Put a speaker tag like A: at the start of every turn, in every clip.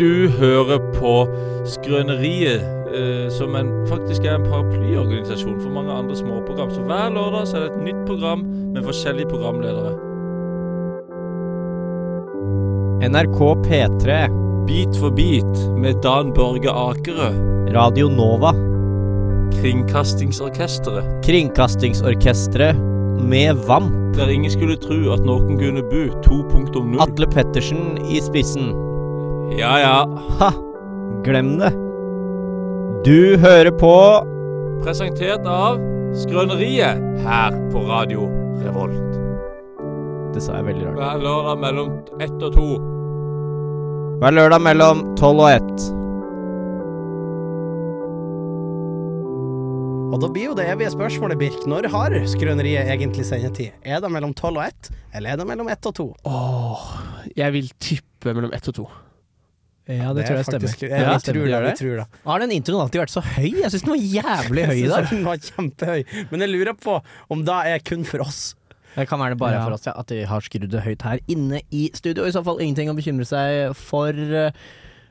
A: Du hører på Skrøneriet, eh, som en, faktisk er en paraplyorganisasjon for mange andre småprogram. Så hver lørdag så er det et nytt program med forskjellige programledere.
B: NRK P3,
A: Bit for bit med Dan Børge Akerø,
B: Radio Nova,
A: Kringkastingsorkesteret.
B: Kringkastingsorkestret med VAMP,
A: Der ingen skulle tro at noen kunne bu 2.0.
B: Atle Pettersen i spissen.
A: Ja ja.
B: Ha! Glem det. Du hører på
A: Presentert av Skrøneriet her på Radio Revolt.
B: Det sa jeg veldig rart.
A: Hver lørdag mellom ett og to.
B: Hver lørdag mellom tolv og ett.
C: Og da blir jo det evige spørsmålet, Birk, når har skrøneriet egentlig sendetid? Er det mellom tolv og ett, eller er det mellom ett og to?
D: Åh, jeg vil tippe mellom ett og to.
E: Ja, det, tror jeg stemmer.
C: faktisk-
E: Ja,
C: Jeg,
E: det
C: jeg tror
E: stemmer.
C: det.
E: Gjør
C: Jeg tror det.
E: Har den introen alltid vært så høy? Jeg syns den var jævlig høy i
C: Jeg
E: dag.
C: synes Den var kjempehøy. Men jeg lurer på om da er kun for oss.
E: Det kan være det bare
D: Ja.
E: for oss ja, at de har skrudd det høyt her inne i studio. I så fall ingenting å bekymre seg for. eh,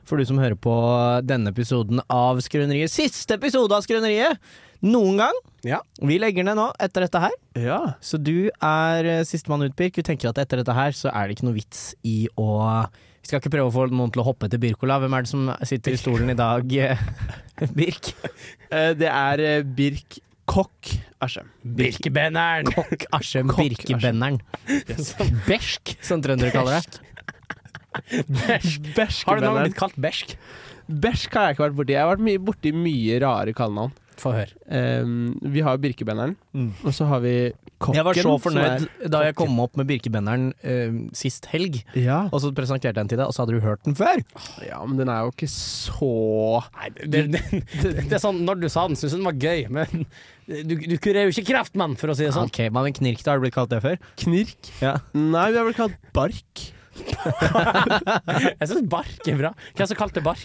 E: For du som hører på denne episoden av Skrøneriet. Siste episode av Skrøneriet! Noen gang.
C: Ja.
E: Vi legger ned nå etter dette her.
D: Ja.
E: Så du er eh, sistemann ut, Birk. Vi tenker at etter dette her så er det ikke noe vits i å Vi skal ikke prøve å få noen til å hoppe etter Birkola. Hvem er det som sitter i stolen i dag, eh, Birk?
D: Eh, Det er eh, Birk Kokk Aschem.
C: Birkebenneren!
E: Kokk Askjem
D: Kokk
E: Birkebenneren. Bersk, som trøndere kaller det.
D: Bersk,
C: Har du noen gang blitt kalt Bersk?
D: Bersk har jeg ikke vært borti. Jeg har vært mye borti mye rare kallenavn.
C: Få høre.
D: Um, vi har Birkebenneren,
E: Mm.
D: og så har vi Kokken.
E: Jeg var så
D: som
E: fornøyd
D: er-
E: da jeg kom opp med Birkebenneren eh, sist helg,
D: Ja.
E: og så presenterte jeg den til deg, og så hadde du hørt den før.
D: ja, men den er jo ikke så
C: Nei, det, det, det, det er sånn, når du sa den, syntes jeg den var gøy, men du, du kurerer jo ikke kreft, mann, for å si det sånn.
E: Ok, mannen Knirk, da har du blitt kalt det før?
D: Knirk.
E: Ja.
D: Nei, vi har vel kalt Bark.
C: Jeg syns bark er bra. Hvem som kalte det bark?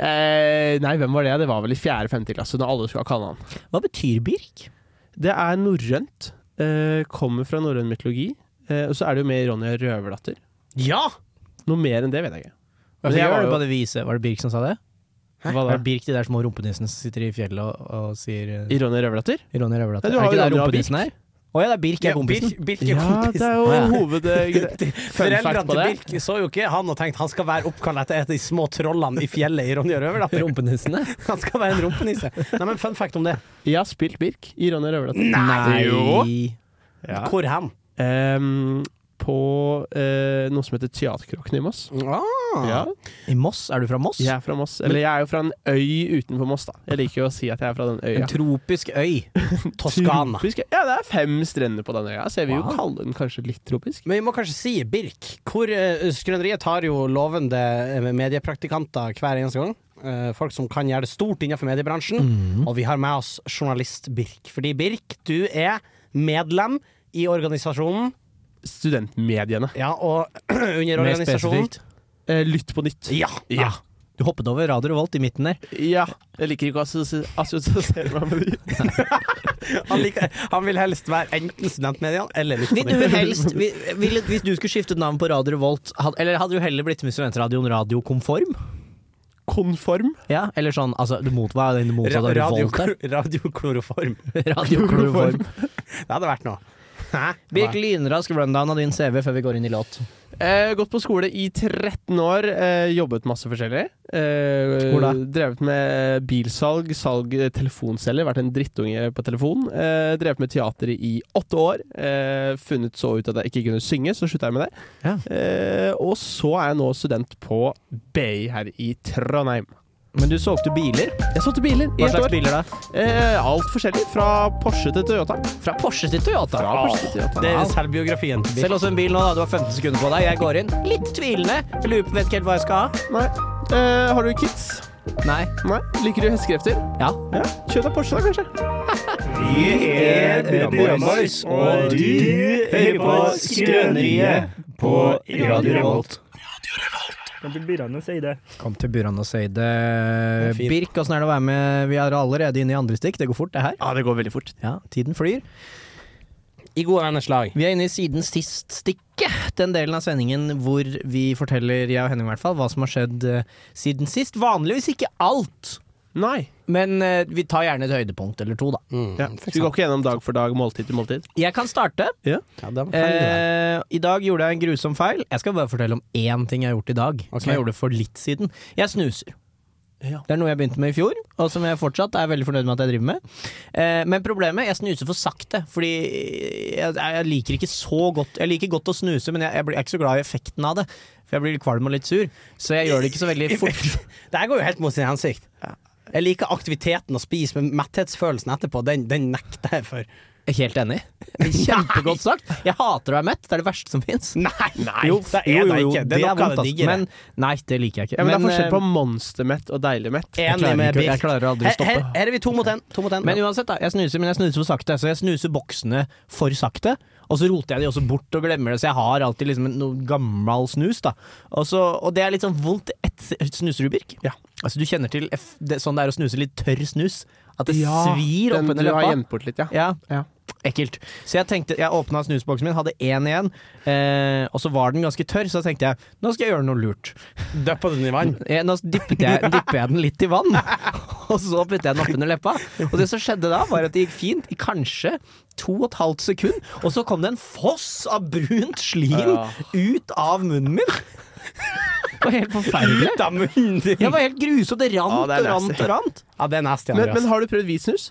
D: Eh, nei, hvem var det? Det var vel i fjerde-femte klasse, når alle skulle ha kallenavn.
E: Hva betyr Birk?
D: Det er norrønt. Eh, kommer fra norrøn mytologi. Eh, og så er det jo med Ronja Røverdatter.
C: Ja!
D: Noe mer enn det vet jeg ikke. Men
E: Hvorfor
D: jeg
E: gjør
D: var
E: du
D: jo-
E: bare det vise? Var det Birk som sa det?
D: Hva
E: Var
D: da?
E: det Birk, de der små rumpenissene som sitter i fjellet og, og sier eh,
D: I Ronja Røverdatter?
E: Ronny Røverdatt?
D: Nei,
E: Er
D: du har
E: ikke
D: jo
E: det
D: aldri hatt
E: rumpenissen her? Å ja, det er Birk, jeg er kompisen.
C: Birk, Birk er
D: Ja, det
C: kompisen.
D: er jo
E: Å, ja.
D: hovedgreia. Fun
C: Foreldrene
D: fact på
C: til
D: det.
C: Birk så jo ikke han og tenkte han skal være oppkalt etter et av de små trollene i fjellet i Ronja Røverdatter.
E: Rumpenissene?
C: Han skal være en rumpenisse. Nei, men fun fact om det.
D: Jeg har spilt Birk i Ronja Røverdatter.
E: Nei!
D: Jo. Ja.
C: Hvor hen?
D: Ehm, på eh, noe som heter Teaterkråkene i Moss.
C: Ah.
D: Ja.
E: I Moss? Er du fra Moss?
D: Jeg er fra Moss. Eller jeg er jo fra en øy utenfor Moss, da. Jeg liker jo å si at jeg er fra den øya.
E: En tropisk øy.
C: Toskana.
D: Tropisk øy. Ja, det er fem strender på den øya, så jeg vil jo
E: Wow.
D: kalle den kanskje litt tropisk.
C: Men vi må kanskje si Birk. Hvor eh, Skrøneriet tar jo lovende eh, mediepraktikanter hver eneste gang. Eh, folk som kan gjøre det stort innenfor mediebransjen. Og vi har med oss journalist Birk. Fordi Birk, du er medlem i organisasjonen.
D: Studentmediene.
C: Ja, og under organisasjonen
D: Eh, lytt på nytt.
C: Ja!
D: Ja.
E: Du hoppet over Radio Revolt i midten der.
D: Ja. Jeg liker ikke å assosi- assosiere meg med de.
C: Han, liker, han vil helst være enten studentmediene eller Lytt på
E: Vil du
C: nytt.
E: helst, vil, vil, hvis du skulle skiftet navn på Radio Revolt, had, eller hadde du heller blitt med studentradioen Radio Konform?
D: Konform.
E: Ja, eller sånn, altså, du mot, hva er den
C: Ra-
E: motsatte av
C: radio-
E: Revolt der?
C: Radiokloroform.
E: Radio Konform.
C: Det hadde vært noe. Hæ?
E: Birk, lynrask rundown av din CV før vi går inn i låt.
D: Eh, gått på skole i 13 år, eh, jobbet masse forskjellig. Eh,
E: Hvor da?
D: Drevet med bilsalg, salg, eh, telefonselger, vært en drittunge på telefon. Eh, drevet med teater i åtte år. Eh, funnet så ut at jeg ikke kunne synge, så slutta jeg med det.
E: Ja.
D: Eh, og så er jeg nå student på BI her i Trondheim.
E: Men du solgte biler.
D: Jeg solgte biler i
E: Hva
D: et
E: slags
D: år.
E: biler da?
D: Eh, alt forskjellig, fra Porsche til Toyota.
E: Fra Porsche til Toyota.
D: Fra Porsche til Toyota.
C: Det er selvbiografien til Birk.
E: Selg oss en bil nå, da. Du har 15 sekunder på deg. Jeg går inn. Litt tvilende. Jeg Lurer på vet ikke helt hva jeg skal ha.
D: Nei. Eh, har du kids?
E: Nei.
D: Nei. Liker du hestekrefter?
E: Ja.
D: Ja. Kjøp deg Porsche, da, kanskje.
F: Boys, og du hører på Skrøneriet på Radio Revolt. Kan du begynne å si det?
E: Kom til byråen og si det.
C: er fint.
E: Birk, åssen er det å være med? Vi er allerede inne i andre stikk. Det går fort, det her.
D: Ja, det går veldig fort.
E: Ja, tiden flyr.
C: I gode venners lag.
E: Vi er inne i siden sist stikket. Den delen av sendingen hvor vi forteller, jeg og Henning i hvert fall, hva som har skjedd eh, siden sist. Vanligvis ikke alt,
D: Nei.
E: men eh, vi tar gjerne et høydepunkt eller to, da.
D: Ja. Skal vi gå ikke gjennom dag for dag, måltid til måltid?
E: Jeg kan starte.
C: Ja, da kan vi det.
E: Eh, I dag gjorde jeg en grusom feil. Jeg skal bare fortelle om én ting jeg har gjort i dag.
C: Ok.
E: Som jeg gjorde for litt siden. Jeg snuser.
D: Ja.
E: Det er noe jeg begynte med i fjor, og som jeg fortsatt er veldig fornøyd med at jeg driver med. Eh, men problemet jeg snuser for sakte, fordi jeg, jeg liker ikke så godt Jeg liker godt å snuse, men jeg, jeg blir jeg er ikke så glad i effekten av det. For jeg blir litt kvalm og litt sur, så jeg gjør det ikke så veldig fort.
C: Det her går jo helt mot sin hensikt. Jeg liker aktiviteten å spise, men metthetsfølelsen etterpå, den, den nekter jeg for.
E: Helt enig. Kjempegodt sagt. Jeg hater å være mett. Det er det verste som fins.
C: Nei!
E: Jo,
C: det er det ikke. Det er noe av det
E: ass.
C: diggere.
E: Men nei, det liker jeg ikke.
D: Ja, men, det er
E: Men,
D: forskjell
E: eh,
D: på monstermett og deiligmett.
E: Jeg
C: Enig
E: klarer
C: med
E: ikke-
C: Birk.
E: jeg klarer aldri å
C: Her,
E: stoppe.
C: her, her er vi to mot én. To mot én.
E: Men uansett, da. Jeg snuser, men jeg snuser for sakte. Så jeg snuser boksene for sakte. Og så roter jeg de også bort og glemmer det, så jeg har alltid liksom en- noe gammel snus. da Og, så, og det er litt sånn vondt et Snuser du, Birk?
D: Ja.
E: Altså, du kjenner til F, det, sånn det er å snuse litt tørr snus? At det svir
D: den
E: oppunder
D: du har
E: leppa?
D: gjemt bort litt, ja.
E: Ja.
D: Ja.
E: Ekkelt. Så jeg tenkte, jeg åpna snusboksen min, hadde én igjen, eh, og så var den ganske tørr, så da tenkte jeg nå skal jeg gjøre noe lurt.
C: Døppa den i vann.
E: Eh, Nå dyppet jeg, dyppet jeg den litt i vann, og så putter jeg den oppunder leppa. Og det som skjedde da, var at det gikk fint i kanskje to og et halvt sekund, og så kom det en foss av brunt slim
D: Ja.
E: ut av munnen min. Det var helt forferdelig.
C: Ut av munnen din!
E: Jeg var helt grusom. Det
D: Ja,
E: rant
D: det er
E: og rant
D: nasty.
E: og rant.
C: Ja, det er nasty,
D: Men, men
C: Andreas.
D: har du prøvd hvit snus?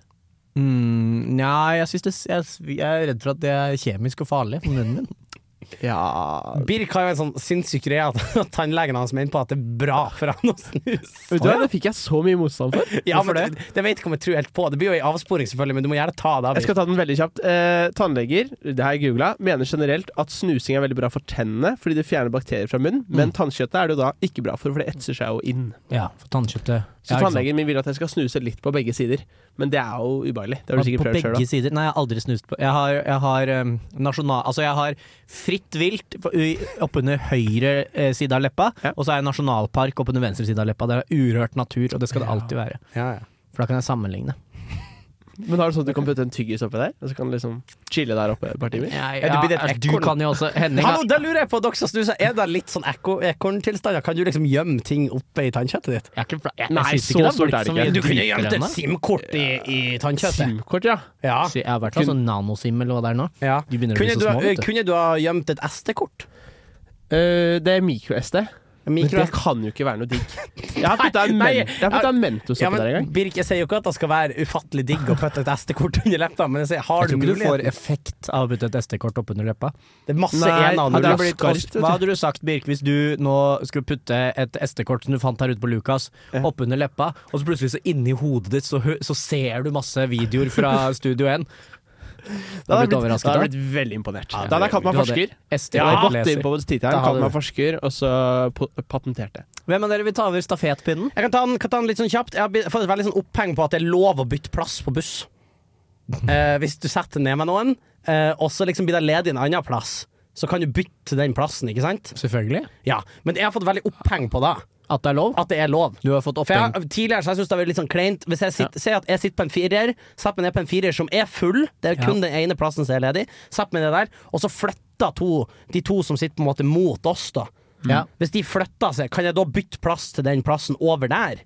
E: Mm, Nja, jeg, synes det, jeg, jeg er redd for at det er kjemisk og farlig for munnen min.
D: Ja
C: Birk har jo en sånn sinnssyk greie at tannlegen hans mener på at det er bra for han å snuse.
D: Vet du hva, Det fikk jeg så mye motstand for.
C: Ja,
D: Hvorfor
C: men det, det vet ikke om jeg tror helt på. Det blir jo ei avsporing, selvfølgelig, men du må gjerne ta det av.
D: Jeg skal ta den veldig kjapt. Eh, tannleger det har jeg googlet, mener generelt at snusing er veldig bra for tennene fordi det fjerner bakterier fra munnen, men tannkjøttet er det jo da ikke bra for, for det etser seg jo inn.
E: Ja, for tannkjøttet.
D: Så tannlegen min vil at jeg skal snuse litt på begge sider, men det er jo ubehagelig. Det har
E: På
D: du sikkert prøvd sjøl
E: begge sider? Nei, jeg har aldri snust på Jeg har, jeg har um, nasjonal... Altså, jeg har fritt vilt på- i- oppunder høyre eh, side av leppa,
D: Ja.
E: og så har jeg nasjonalpark oppunder venstre side av leppa. Det er urørt natur, og det skal det alltid være.
C: Ja, ja.
E: For da kan jeg sammenligne.
D: Men har du sånn at du kan putte en tyggis oppi der, og så kan du liksom chille der oppe et par timer?
C: ja, du blir et
E: altså, du
C: ekorn.
E: kan jo også Henning
C: Hallo, da lurer jeg på, dere som snuser, er det litt sånn ekko- ekorntilstander? Kan du liksom gjemme ting oppe i tannkjøttet ditt?
E: Jeg er ikke, jeg, jeg
D: Nei,
E: synes
D: så
E: ikke det har
D: stort
E: blitt
D: er det
E: så
D: ikke.
E: mye
C: Du kunne gjemt
E: dypere
C: et
E: enn det.
C: SIM-kort i, i tannkjøttet.
D: SIM-kort, ja.
C: Ja.
E: Så Jeg har vært sånn nanosim eller hva det er nå.
C: ja.
E: De begynner å bli
C: Kunne
E: så
C: du,
E: små,
C: ha-
E: vet du.
C: kunne du ha gjemt et SD-kort?
D: Eh, det er mikro-SD. Men
C: Mikro
D: det kan jo ikke være noe digg. Jeg har putta en,
C: Nei,
D: men jeg har puttet en Mentos oppi
C: ja, men,
D: der en gang.
C: Birk, jeg sier jo ikke at det skal være ufattelig digg å putte et SD-kort under leppa, men jeg sier, har
E: Jeg
C: du
E: tror ikke du får
C: mulighet?
E: effekt av å putte et SD-kort oppunder leppa.
C: Det er masse
D: Nei,
C: ena og
D: ja, det
C: nuller.
D: blir- skarpt, vet du.
E: Hva hadde du sagt, Birk, hvis du nå skulle putte et SD-kort som du fant her ute på Lukas, oppunder leppa, og så plutselig så inni hodet ditt så, hø- så ser du masse videoer fra Studio 1? Du har blitt overrasket,
D: da
E: da?
D: hadde jeg blitt veldig imponert.
E: Ja,
D: da hadde jeg kalt meg
E: du hadde-
D: forsker. Jeg
E: SD-kort
D: har gått inn
E: leser.
D: på
E: Da
D: tittelen,
E: hadde
D: kalt meg
E: du-
D: forsker, og så po- patenterte.
E: Hvem av dere vil ta over stafettpinnen?
C: Jeg kan ta, den, kan ta den litt sånn kjapt. Jeg har be- fått et veldig sånn oppheng på at det er lov å bytte plass på buss. Eh, hvis du setter ned med noen, eh, og så liksom blir det ledig en annen plass, så kan du bytte til den plassen, ikke sant?
E: Selvfølgelig.
C: Ja, Men jeg har fått veldig oppheng på det.
E: At det er lov?
C: At det er lov.
E: Du har fått
C: For
E: oppheng.
C: jeg, tidligere så har jeg syntes det har vært litt sånn kleint. Hvis jeg sitter, ser at jeg sitter på en firer, setter meg ned på en firer som er full, det er
E: Ja.
C: kun den ene plassen som er ledig, setter meg ned der, og så flytter to, de to som sitter på en måte mot oss, da.
E: Ja.
C: Hvis de flytter seg, kan jeg da bytte plass til den plassen over der?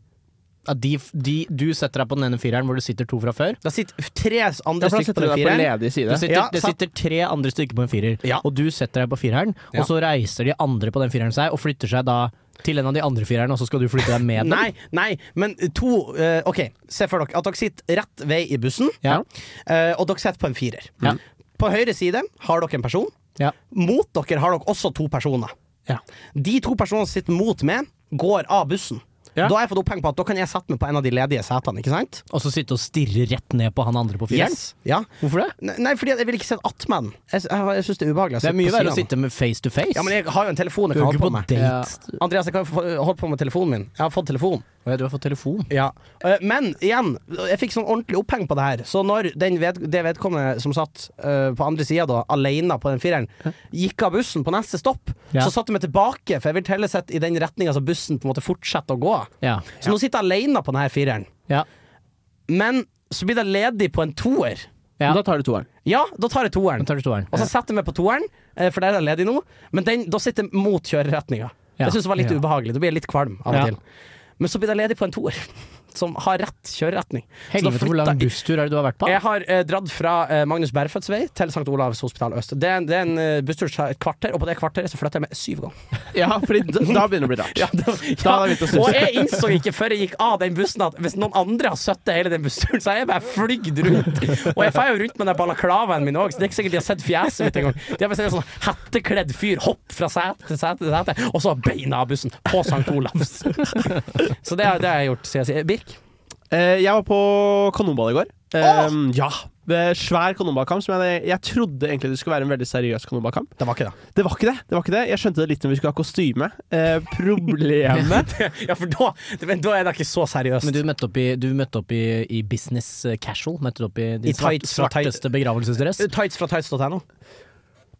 E: At de, f- de, du setter deg på den ene fireren hvor det sitter to fra før.
C: Det sitter tre andre
D: Ja, for da
C: stykker på
D: setter du
C: den
D: deg på
C: fireren.
D: ledig
E: Det
D: side.
E: sitter,
C: Ja,
E: det
C: sant.
E: sitter tre andre stykker på en firer,
C: Ja.
E: og du setter deg på fireren,
C: Ja.
E: og så reiser de andre på den fireren seg og flytter seg da til en av de andre firerne, og så skal du flytte deg med dem.
C: Nei, nei, men to eh, OK, se for dere at dere sitter rett vei i bussen,
E: Ja.
C: eh, og dere sitter på en firer.
E: Ja.
C: På høyre side har dere en person.
E: Ja.
C: Mot dere har dere også to personer.
E: Ja.
C: De to personene som sitter mot meg, går av bussen.
D: Ja.
C: Da har jeg fått oppheng på at da kan jeg sette meg på en av de ledige setene, ikke sant?
E: Og så sitte og stirre rett ned på han andre på fireren.
C: Ja.
E: Hvorfor det?
C: Nei, nei, fordi at jeg vil ikke sitte attmed den. Jeg, jeg, jeg syns det er ubehagelig. å
E: Det er
C: sitte
E: mye
C: på
E: verre å
C: siden.
E: sitte med face to face.
C: Ja, men jeg har jo en
E: du
C: telefon jeg kan
E: er
C: holde
E: ikke på
C: på med.
E: date.
C: Andreas, jeg kan få- holde på med telefonen min. Jeg har fått telefon.
E: Å Ja. Du har fått telefon.
C: Ja. Eh, Men igjen, jeg fikk sånn ordentlig oppheng på det her. Så når den ved, det vedkommende som satt eh, på andre sida, da, alene på den fireren, gikk av bussen på neste stopp,
E: Ja.
C: så satte jeg meg tilbake, for jeg ville heller sett i den retninga som bussen på en måte fortsetter å gå.
E: Ja.
C: Så nå sitter jeg alene på denne fireren.
E: Ja.
C: Men så blir det ledig på en toer.
E: Ja.
D: Men Da tar du toeren.
C: Ja, da tar jeg toeren.
E: Da tar du toeren.
C: Og så setter jeg meg på toeren, eh, for der er jeg ledig nå. Men den, da sitter jeg mot kjøreretninga.
E: Ja.
C: Jeg syns det var litt
E: Ja.
C: ubehagelig. Da blir jeg litt kvalm av og
E: Ja.
C: til. Men så blir jeg ledig på en toer, som har rett kjøreretning. Så da
E: Helvete, hvor
C: flytter
E: lang
C: jeg-
E: busstur er det du har vært på?
C: Jeg har eh, dratt fra eh, Magnus Berfødts vei til St. Olavs hospital øst. Det er, en- det er en eh, busstur som tar et kvarter, og på det kvarteret så flytter jeg meg syv ganger.
D: Ja, fordi da, da begynner det å bli rart.
C: Ja, det,
D: Da har jeg begynt å snuse.
C: og jeg innså ikke før jeg gikk av den bussen at hvis noen andre har søttet hele den bussturen, så har jeg bare flygd rundt. Og jeg feier jo rundt med den balaklavaen min òg, så det er ikke sikkert de har sett fjeset mitt engang. De har bare sett en sånn hettekledd fyr hoppe fra sete til sete til sete, og så beina av bussen på St. Olavs. Så det, har- det har jeg gjort siden sist. Birk?
D: Eh, jeg var på kanonball i går. Um, ja. Det er svær kanonballkamp. Som jeg, jeg trodde egentlig det skulle være en veldig seriøs kanonballkamp.
C: Det var ikke det.
D: Det var ikke det. det var ikke det Jeg skjønte det litt når vi skulle ha kostyme. Eh, problemet
C: Ja, for da, men da er det ikke så seriøst.
E: Men du møtte opp i, du møtte opp i, i business eh, casual? Møtte du opp i din
C: I
E: svart,
C: tights, fra tights.
E: svarteste begravelsesdress?
C: Tights fra tights.no.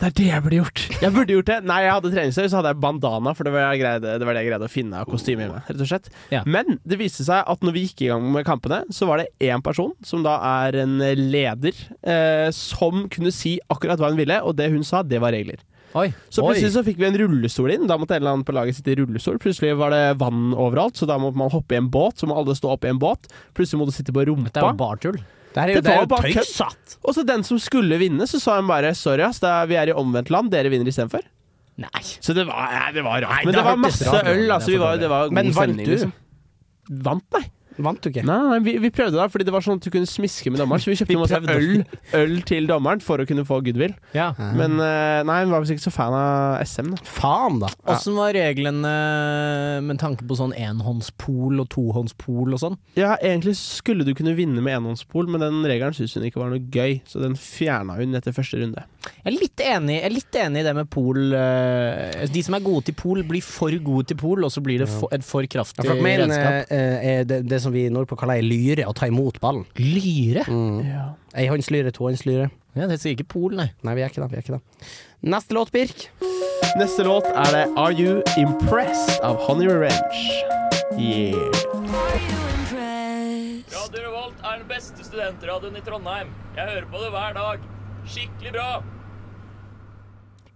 D: Det er det jeg burde gjort. Jeg burde gjort det Nei, jeg hadde treningstøy, så hadde jeg bandana, for det var, jeg greide, det var det jeg greide å finne av kostyme i meg. Rett og slett
E: Ja.
D: Men det viste seg at når vi gikk i gang med kampene, så var det én person, som da er en leder, eh, som kunne si akkurat hva hun ville, og det hun sa, det var regler.
E: Oi.
D: Så
E: Oi.
D: plutselig så fikk vi en rullestol inn. Da måtte en eller annen på laget sitte i rullestol. Plutselig var det vann overalt, så da måtte man hoppe i en båt. Så må alle stå opp i en båt. Plutselig må du sitte på rumpa.
E: Dette er jo bartull.
C: Det her er
D: Det
C: jo, det
D: var
C: er jo
D: bare kødd.
C: tøysatt.
D: Og så den som skulle vinne, så sa han bare sorry, ass, det er, vi er i omvendt land, dere vinner istedenfor.
E: Nei.
D: Så det var, nei, det var rart.
C: Nei,
D: Men
C: det
D: det var
C: hørtes
D: masse
E: rart ut.
D: øl, altså. Vi var, det var god
C: Men vant
D: stemning,
C: du?
D: liksom. Vant, nei.
C: Vant du ikke?
D: Nei, nei, nei vi, vi prøvde da, fordi det var sånn at du kunne smiske med dommeren. Så vi kjøpte masse øl, øl til dommeren for å kunne få goodwill.
E: Ja.
D: Men eh, nei, hun var visst ikke så fan av SM, da.
C: Faen, da.
E: Åssen var reglene med tanke på sånn enhåndspol og tohåndspol og sånn?
D: Ja, egentlig skulle du kunne vinne med enhåndspol, men den regelen syntes hun ikke var noe gøy, så den fjerna hun etter første runde.
E: Jeg er litt enig, jeg er litt enig i det med pol. eh, De som er gode til pol, blir for gode til pol, og så blir det for, et for
C: Ja,
E: kraftig
C: for min,
E: redskap.
C: eh, eh, er det, det som vi nordpå kaller ei lyre, å ta imot ballen.
E: Lyre?
C: Mm. Eihåndslyre, tohåndslyre.
E: Ja, det sier ikke pol, nei.
C: Nei, vi er ikke det. vi er ikke det Neste låt, Birk.
D: Neste låt er det Are You Impressed av Honey Revenge. Yeah.
G: Radio Revolt er den beste studentradioen i Trondheim. Jeg hører på det hver dag. Skikkelig bra!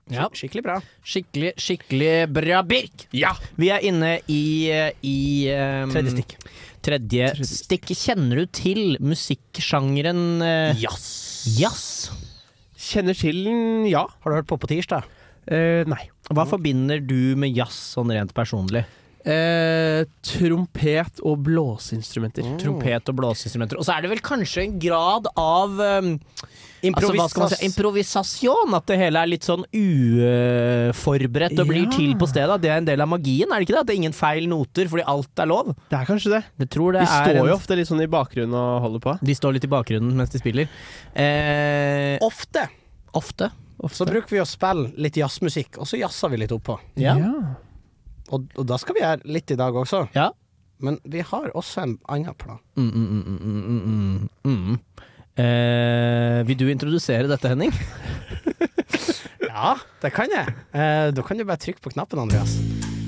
E: Ja.
C: Skikkelig bra.
E: Skikkelig, skikkelig bra, Birk!
D: Ja!
E: Vi er inne i, eh, i ehm,
C: Tredje stikk.
E: Tredje stikk. Kjenner du til musikksjangeren eh,
C: Jazz.
E: jazz?
D: Kjenner til den, ja.
C: Har du hørt på på tirsdag?
D: Eh, nei.
E: Hva forbinder du med jazz sånn rent personlig?
D: Eh, trompet og blåseinstrumenter.
E: Trompet og blåseinstrumenter. Og så er det vel kanskje en grad av ehm, altså, hva skal man si, improvisasjon. At det hele er litt sånn uforberedt og blir
D: Ja.
E: til på stedet. Det er en del av magien, er det ikke det? At det er ingen feil noter fordi alt er lov.
D: Det er kanskje det.
E: Det tror
D: Vi
E: det er
D: står
E: en-
D: jo ofte litt sånn i bakgrunnen og holder på.
E: De står litt i bakgrunnen mens de spiller. Eh,
C: Ofte
E: ofte.
C: så bruker vi å spille litt jazzmusikk, og så jazzer vi litt oppå.
E: Ja.
C: Og, og da skal vi gjøre litt i dag også,
E: Ja.
C: men vi har også en annen plan.
E: Mm, mm, mm, mm, mm, mm, mm. Eh, vil du introdusere dette, Henning?
C: Ja, det kan jeg. Eh, da kan du bare trykke på knappen, Andreas.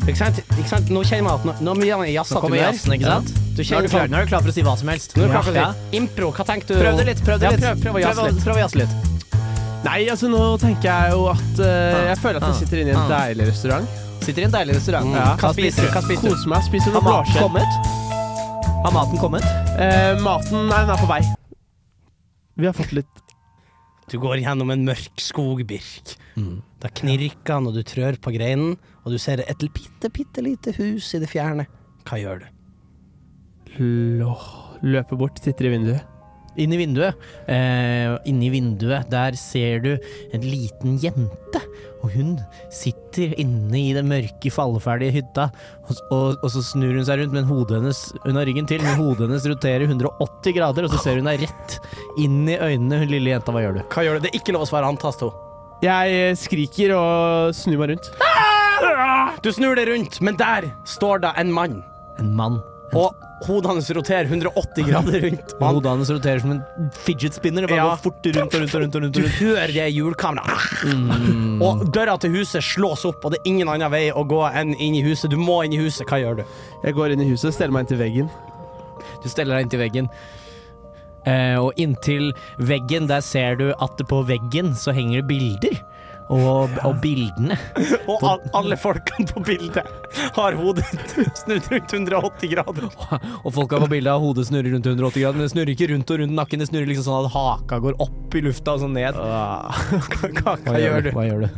C: Ikke sant? Ikke sant? Nå kjenner jeg at nå, nå er mye av den jazza til meg.
E: jazzen, ikke sant? Nå
C: Du
E: er,
C: kjenner
E: du klar, nå er du klar for å si hva som helst.
C: Nå er du klar for å si
E: Ja.
C: impro. Hva tenkte du?
E: Prøv det litt. Prøv det
C: Ja,
E: litt.
C: prøv- prøv å jazze
E: prøv,
C: litt.
E: prøv å jazze litt.
D: Nei, altså nå tenker jeg jo at eh, Jeg føler at jeg sitter inne i en
E: Ah.
D: deilig restaurant.
E: Sitter i en deilig restaurant.
C: Mm.
E: Ja.
C: Hva spiser du? Hva spiser du?
D: Koser meg, spiser
E: Har
D: noe
E: maten
D: blåskjell.
E: kommet? Har maten kommet?
D: Eh, maten nei, den er på vei. Vi har fått litt
C: Du går gjennom en mørk skog, Birk. Da knirker han, og du trør på greinen, og du ser et bitte, bitte lite hus i det fjerne. Hva gjør du?
D: Løpe bort, titter i vinduet.
E: Inn i vinduet. Eh, inni vinduet der ser du en liten jente. Og hun sitter inne i den mørke, falleferdige hytta. Og, s- og, og så snur hun seg rundt, men hodet hennes Hun har ryggen til, men hodet hennes roterer 180 grader, og så ser hun deg rett inn i øynene, hun lille jenta. Hva gjør du?
C: Hva gjør du? Det er ikke lov å svare antast to.
D: Jeg eh, skriker og snur meg rundt.
C: Du snur deg rundt, men der står da en mann,
E: En mann.
C: og hodet hans roterer 180 grader rundt.
E: Og
C: Og han,
E: hodet hennes roterer som en fidget spinner. Det bare
C: Ja.
E: går fort rundt og rundt og rundt. og rundt,
C: du
E: og rundt.
C: hører det hjulkameraet. Og døra til huset slås opp, og det er ingen annen vei å gå enn inn i huset. Du må inn i huset. Hva gjør du?
D: Jeg går inn i huset, steller meg inntil veggen.
E: Du steller deg inntil veggen. Eh, og inntil veggen, der ser du at på veggen så henger det bilder. Og, og bildene.
C: Og al alle folkene på bildet har hodet snudd rundt 180 grader.
E: Og folka på bildet har hodet snurrer rundt 180 grader, men det snurrer ikke rundt og rundt nakken. Det snurrer liksom sånn at haka går opp i lufta og sånn ned.
C: Ah.
E: Hva, hva, hva gjør du?
D: Hva gjør du?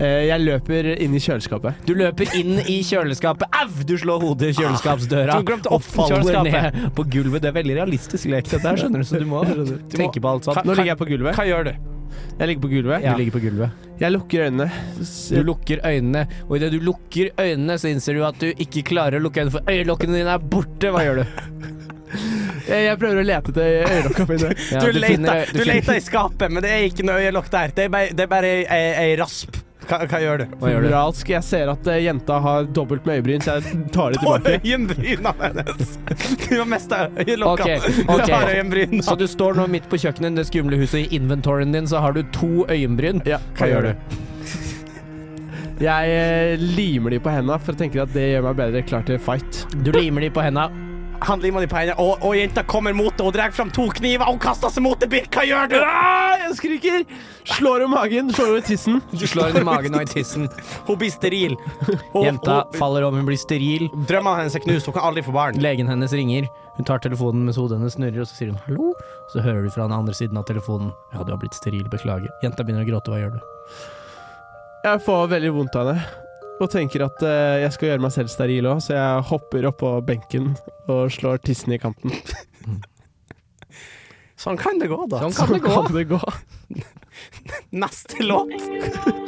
D: Eh, Jeg løper inn i kjøleskapet.
E: Du løper inn i kjøleskapet. Au! Du slår hodet i kjøleskapsdøra
C: Du glemte å
E: og
C: åpne
E: faller
C: kjøleskapet.
E: ned på gulvet. Det er veldig realistisk lek, dette her, skjønner du, så du må tenke på alt sånt.
D: Nå ligger jeg på gulvet.
C: Hva gjør du?
D: Jeg ligger på gulvet.
E: Du ligger på gulvet.
D: Jeg lukker øynene.
E: Du lukker øynene, og idet du lukker øynene, så innser du at du ikke klarer å lukke øynene, for øyelokkene dine er borte. Hva gjør du?
D: Jeg jeg prøver å lete etter øyelokka mine.
E: Ja,
C: du, leter
E: finner-
C: du leter i skapet, men det er ikke noe øyelokk der. Det er bare, det er bare ei, ei, ei rasp. Hva, hva gjør du?
E: Hva gjør du?
D: Moralsk. Jeg ser at eh, jenta har dobbelt med øyebryn, så jeg tar det
C: På
D: tilbake.
C: øyenbryna hennes! Du har mista øyelokkene.
E: Ok,
C: Du har
E: ok.
C: øyenbryna.
E: Så du står nå midt på kjøkkenet, det skumle huset, i inventoryen din, så har du to øyenbryn.
D: Ja,
E: Hva gjør du?
D: Jeg eh, limer de på hendene, for jeg tenker at det gjør meg bedre klar til fight.
E: Du limer de på henda.
C: Han limer de på hendene, og, og jenta kommer mot det. Hun drar fram to kniver. Hun kaster seg mot det, Birk. Hva gjør du?
D: Ah, jeg skriker! Slår om magen, slår over tissen.
E: Du slår henne i magen og i tissen.
C: Hun blir steril. Hun,
E: Jenta
C: hun-
E: faller om, hun blir steril.
C: Drømmene hennes er knust. Hun kan aldri få barn.
E: Legen hennes ringer. Hun tar telefonen mens hodet hennes snurrer, og så sier hun hallo. Så hører du fra den andre siden av telefonen ja, du har blitt steril, beklager. Jenta begynner å gråte, hva gjør du?
D: Jeg får veldig vondt av henne. Og tenker at eh, jeg skal gjøre meg selv steril òg, så jeg hopper oppå benken og slår tissen i kanten.
C: Sånn kan det gå, da.
E: Sånn kan det gå.
D: Kan det gå?
C: Neste låt.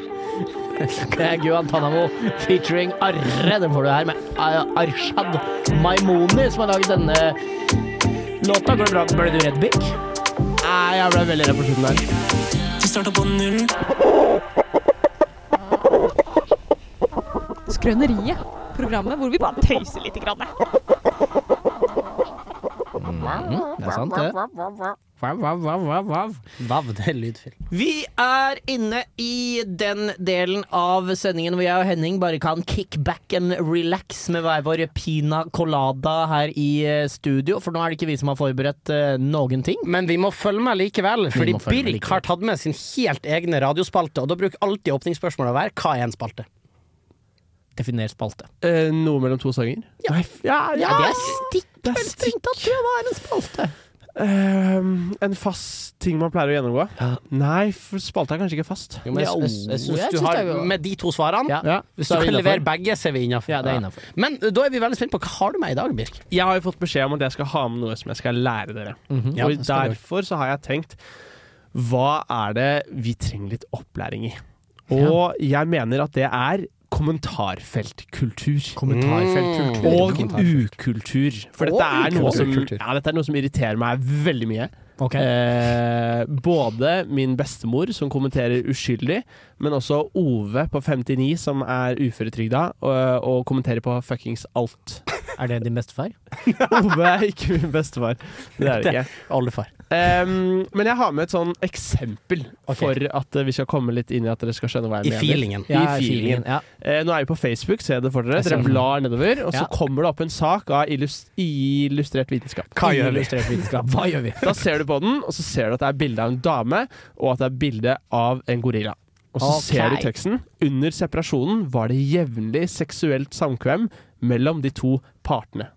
E: Det er Guantánamo featuring Arre. Det får du her med A- Arshad Maimoni, som har laget denne låta. Går det bra? Ble du redd, Birk?
D: Nei, jeg ble veldig redd på slutten der.
H: Skrøneriet. Programmet hvor vi bare tøyser litt. Grann.
E: Det er sant, det. Vav, vav, vav, vav, vav.
C: Vav, det er lydfilm.
E: Vi er inne i den delen av sendingen hvor jeg og Henning bare kan kick back and relax med hver vår pina colada her i eh, studio, for nå er det ikke vi som har forberedt eh, noen ting.
C: Men vi må følge med likevel,
E: Vi
C: fordi
E: må følge med
C: Birk
E: likevel.
C: har tatt med sin helt egne radiospalte. Og da bruker alltid åpningsspørsmålet å være 'hva er en spalte'?
E: Definer spalte.
D: Eh, noe mellom to sanger? Nei, f- ja, ja.
E: det er stikk,
D: Det er
E: vel strengt tatt, tror jeg, hva er en spalte?
D: Ehm, en fast ting man pleier å gjennomgå? Nei, for spalte er kanskje ikke fast.
C: Jo, men jeg,
E: Jo,
C: jeg, jeg syns
E: jeg
C: du
E: synes
C: har
E: det er jo-
C: Med de to svarene
E: Ja.
C: Hvis du
E: så er
C: kan
E: vi
C: levere
E: innenfor.
C: begge, så er vi innafor.
E: Ja, det er innafor.
C: Men eh, da er vi veldig spent på hva har du med i dag, Birk?
D: Jeg har jo fått beskjed om at jeg skal ha med noe som jeg skal lære dere.
E: Mhm.
C: Ja,
D: og
C: det skal du.
D: derfor så har jeg tenkt Hva er det vi trenger litt opplæring i? Og jeg mener at det er kommentarfeltkultur.
E: Mm.
C: Kommentarfeltkultur.
D: Og ukultur. For dette
C: Og
D: er, noe som,
C: ukultur.
D: ja, dette er noe som irriterer meg veldig mye.
E: Ok.
D: Eh, både min bestemor, som kommenterer uskyldig, men også Ove på 59, som er uføretrygda, og, og kommenterer på fuckings alt.
E: Er det din bestefar?
D: Ove er ikke min bestefar. Det er det ikke.
C: Oldefar.
D: Em, men jeg har med et sånn eksempel
C: Ok.
D: for at eh, vi skal komme litt inn i at dere skal skjønne hva
C: I
D: jeg mener.
C: feelingen.
D: I feelingen.
E: Ja.
D: Eh, nå er vi på Facebook, se det for dere.
E: ser
D: Dere
E: den.
D: blar nedover, og
E: Ja.
D: så kommer det opp en sak av illus illustrert vitenskap.
C: Hva gjør vi?
E: Illustrert vitenskap. Hva gjør vi?
D: Da ser du på den, og så ser du at det er bilde av en dame, og at det er bilde av en gorilla. Og så
E: Ok.
D: ser du teksten. Under separasjonen var det jevnlig seksuelt samkvem mellom de to partene.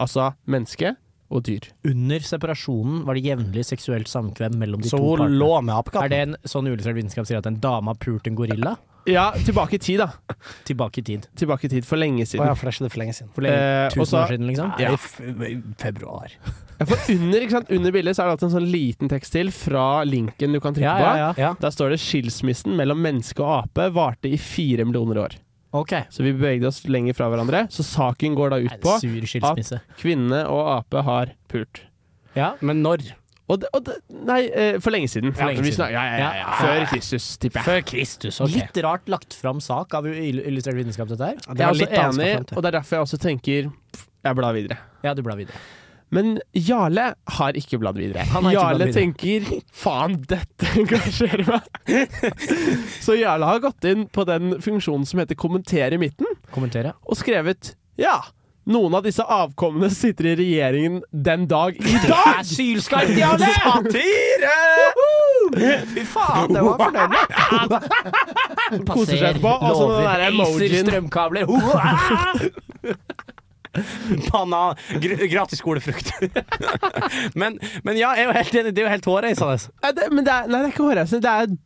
D: Altså menneske og dyr.
E: Under separasjonen var det jevnlig seksuelt samkvem mellom de
C: Så
E: to
C: hun
E: partene.
C: lå med
E: Er
C: apekatten.
E: det en sånn uillustrert vitenskap sier at en dame har pult en gorilla?
D: Ja, tilbake i tid, da.
E: Tilbake i tid.
D: Tilbake i tid, for lenge
C: Å ja,
D: siden.
C: for det skjedde for lenge siden.
E: For lenge,
D: Eh,
E: tusen
D: og så-
E: år siden, liksom?
D: Ja.
C: I f- i februar.
D: Ja, for under, ikke sant? under bildet så er det alltid en sånn liten tekst til fra linken du kan trykke
E: Ja, ja, ja.
D: på. Der står det 'Skilsmissen mellom menneske og ape varte i fire millioner år'.
E: Ok.
D: Så vi bevegde oss lenger fra hverandre. Så saken går da ut på
E: Sur skilsmisse.
D: kvinne og ape har pult.
E: Ja.
C: Men når?
D: Og det, og det, nei, eh, for lenge siden.
E: For lenge
D: vi
E: siden.
D: snak- ja, ja, ja, ja. Før Kristus, tipper jeg.
C: Før Kristus, ok.
E: Litt rart lagt fram sak av ill- illustrert vitenskap, dette her.
C: Ja,
D: Jeg
C: det
D: er
C: var
D: også
C: litt annet
D: enig,
C: skal frem til.
D: og det er derfor jeg også tenker pff, jeg blar videre.
E: Ja, du blar videre.
D: Men Jarle har ikke bladd videre.
E: Han har ikke
D: Jarle
E: bladd
D: tenker 'faen, dette engasjerer meg'. Så Jarle har gått inn på den funksjonen som heter 'kommentere i midten',
E: Kommentere.
D: og skrevet 'ja, Noen av disse avkommene sitter i regjeringen den dag i dag!
I: er sylskarpt, Jarle! Satire! Fy faen, det var fornøyelig.
D: Koser seg etterpå. Og
E: altså,
D: så den der emojien.
I: strømkabler.
C: Panna, Ah! gr gratis skolefrukt. men, men ja, jeg er jo helt enig. Det er jo helt hårreisende.
D: Nei, det, men det er, nei, det er ikke hårreisende. Det er,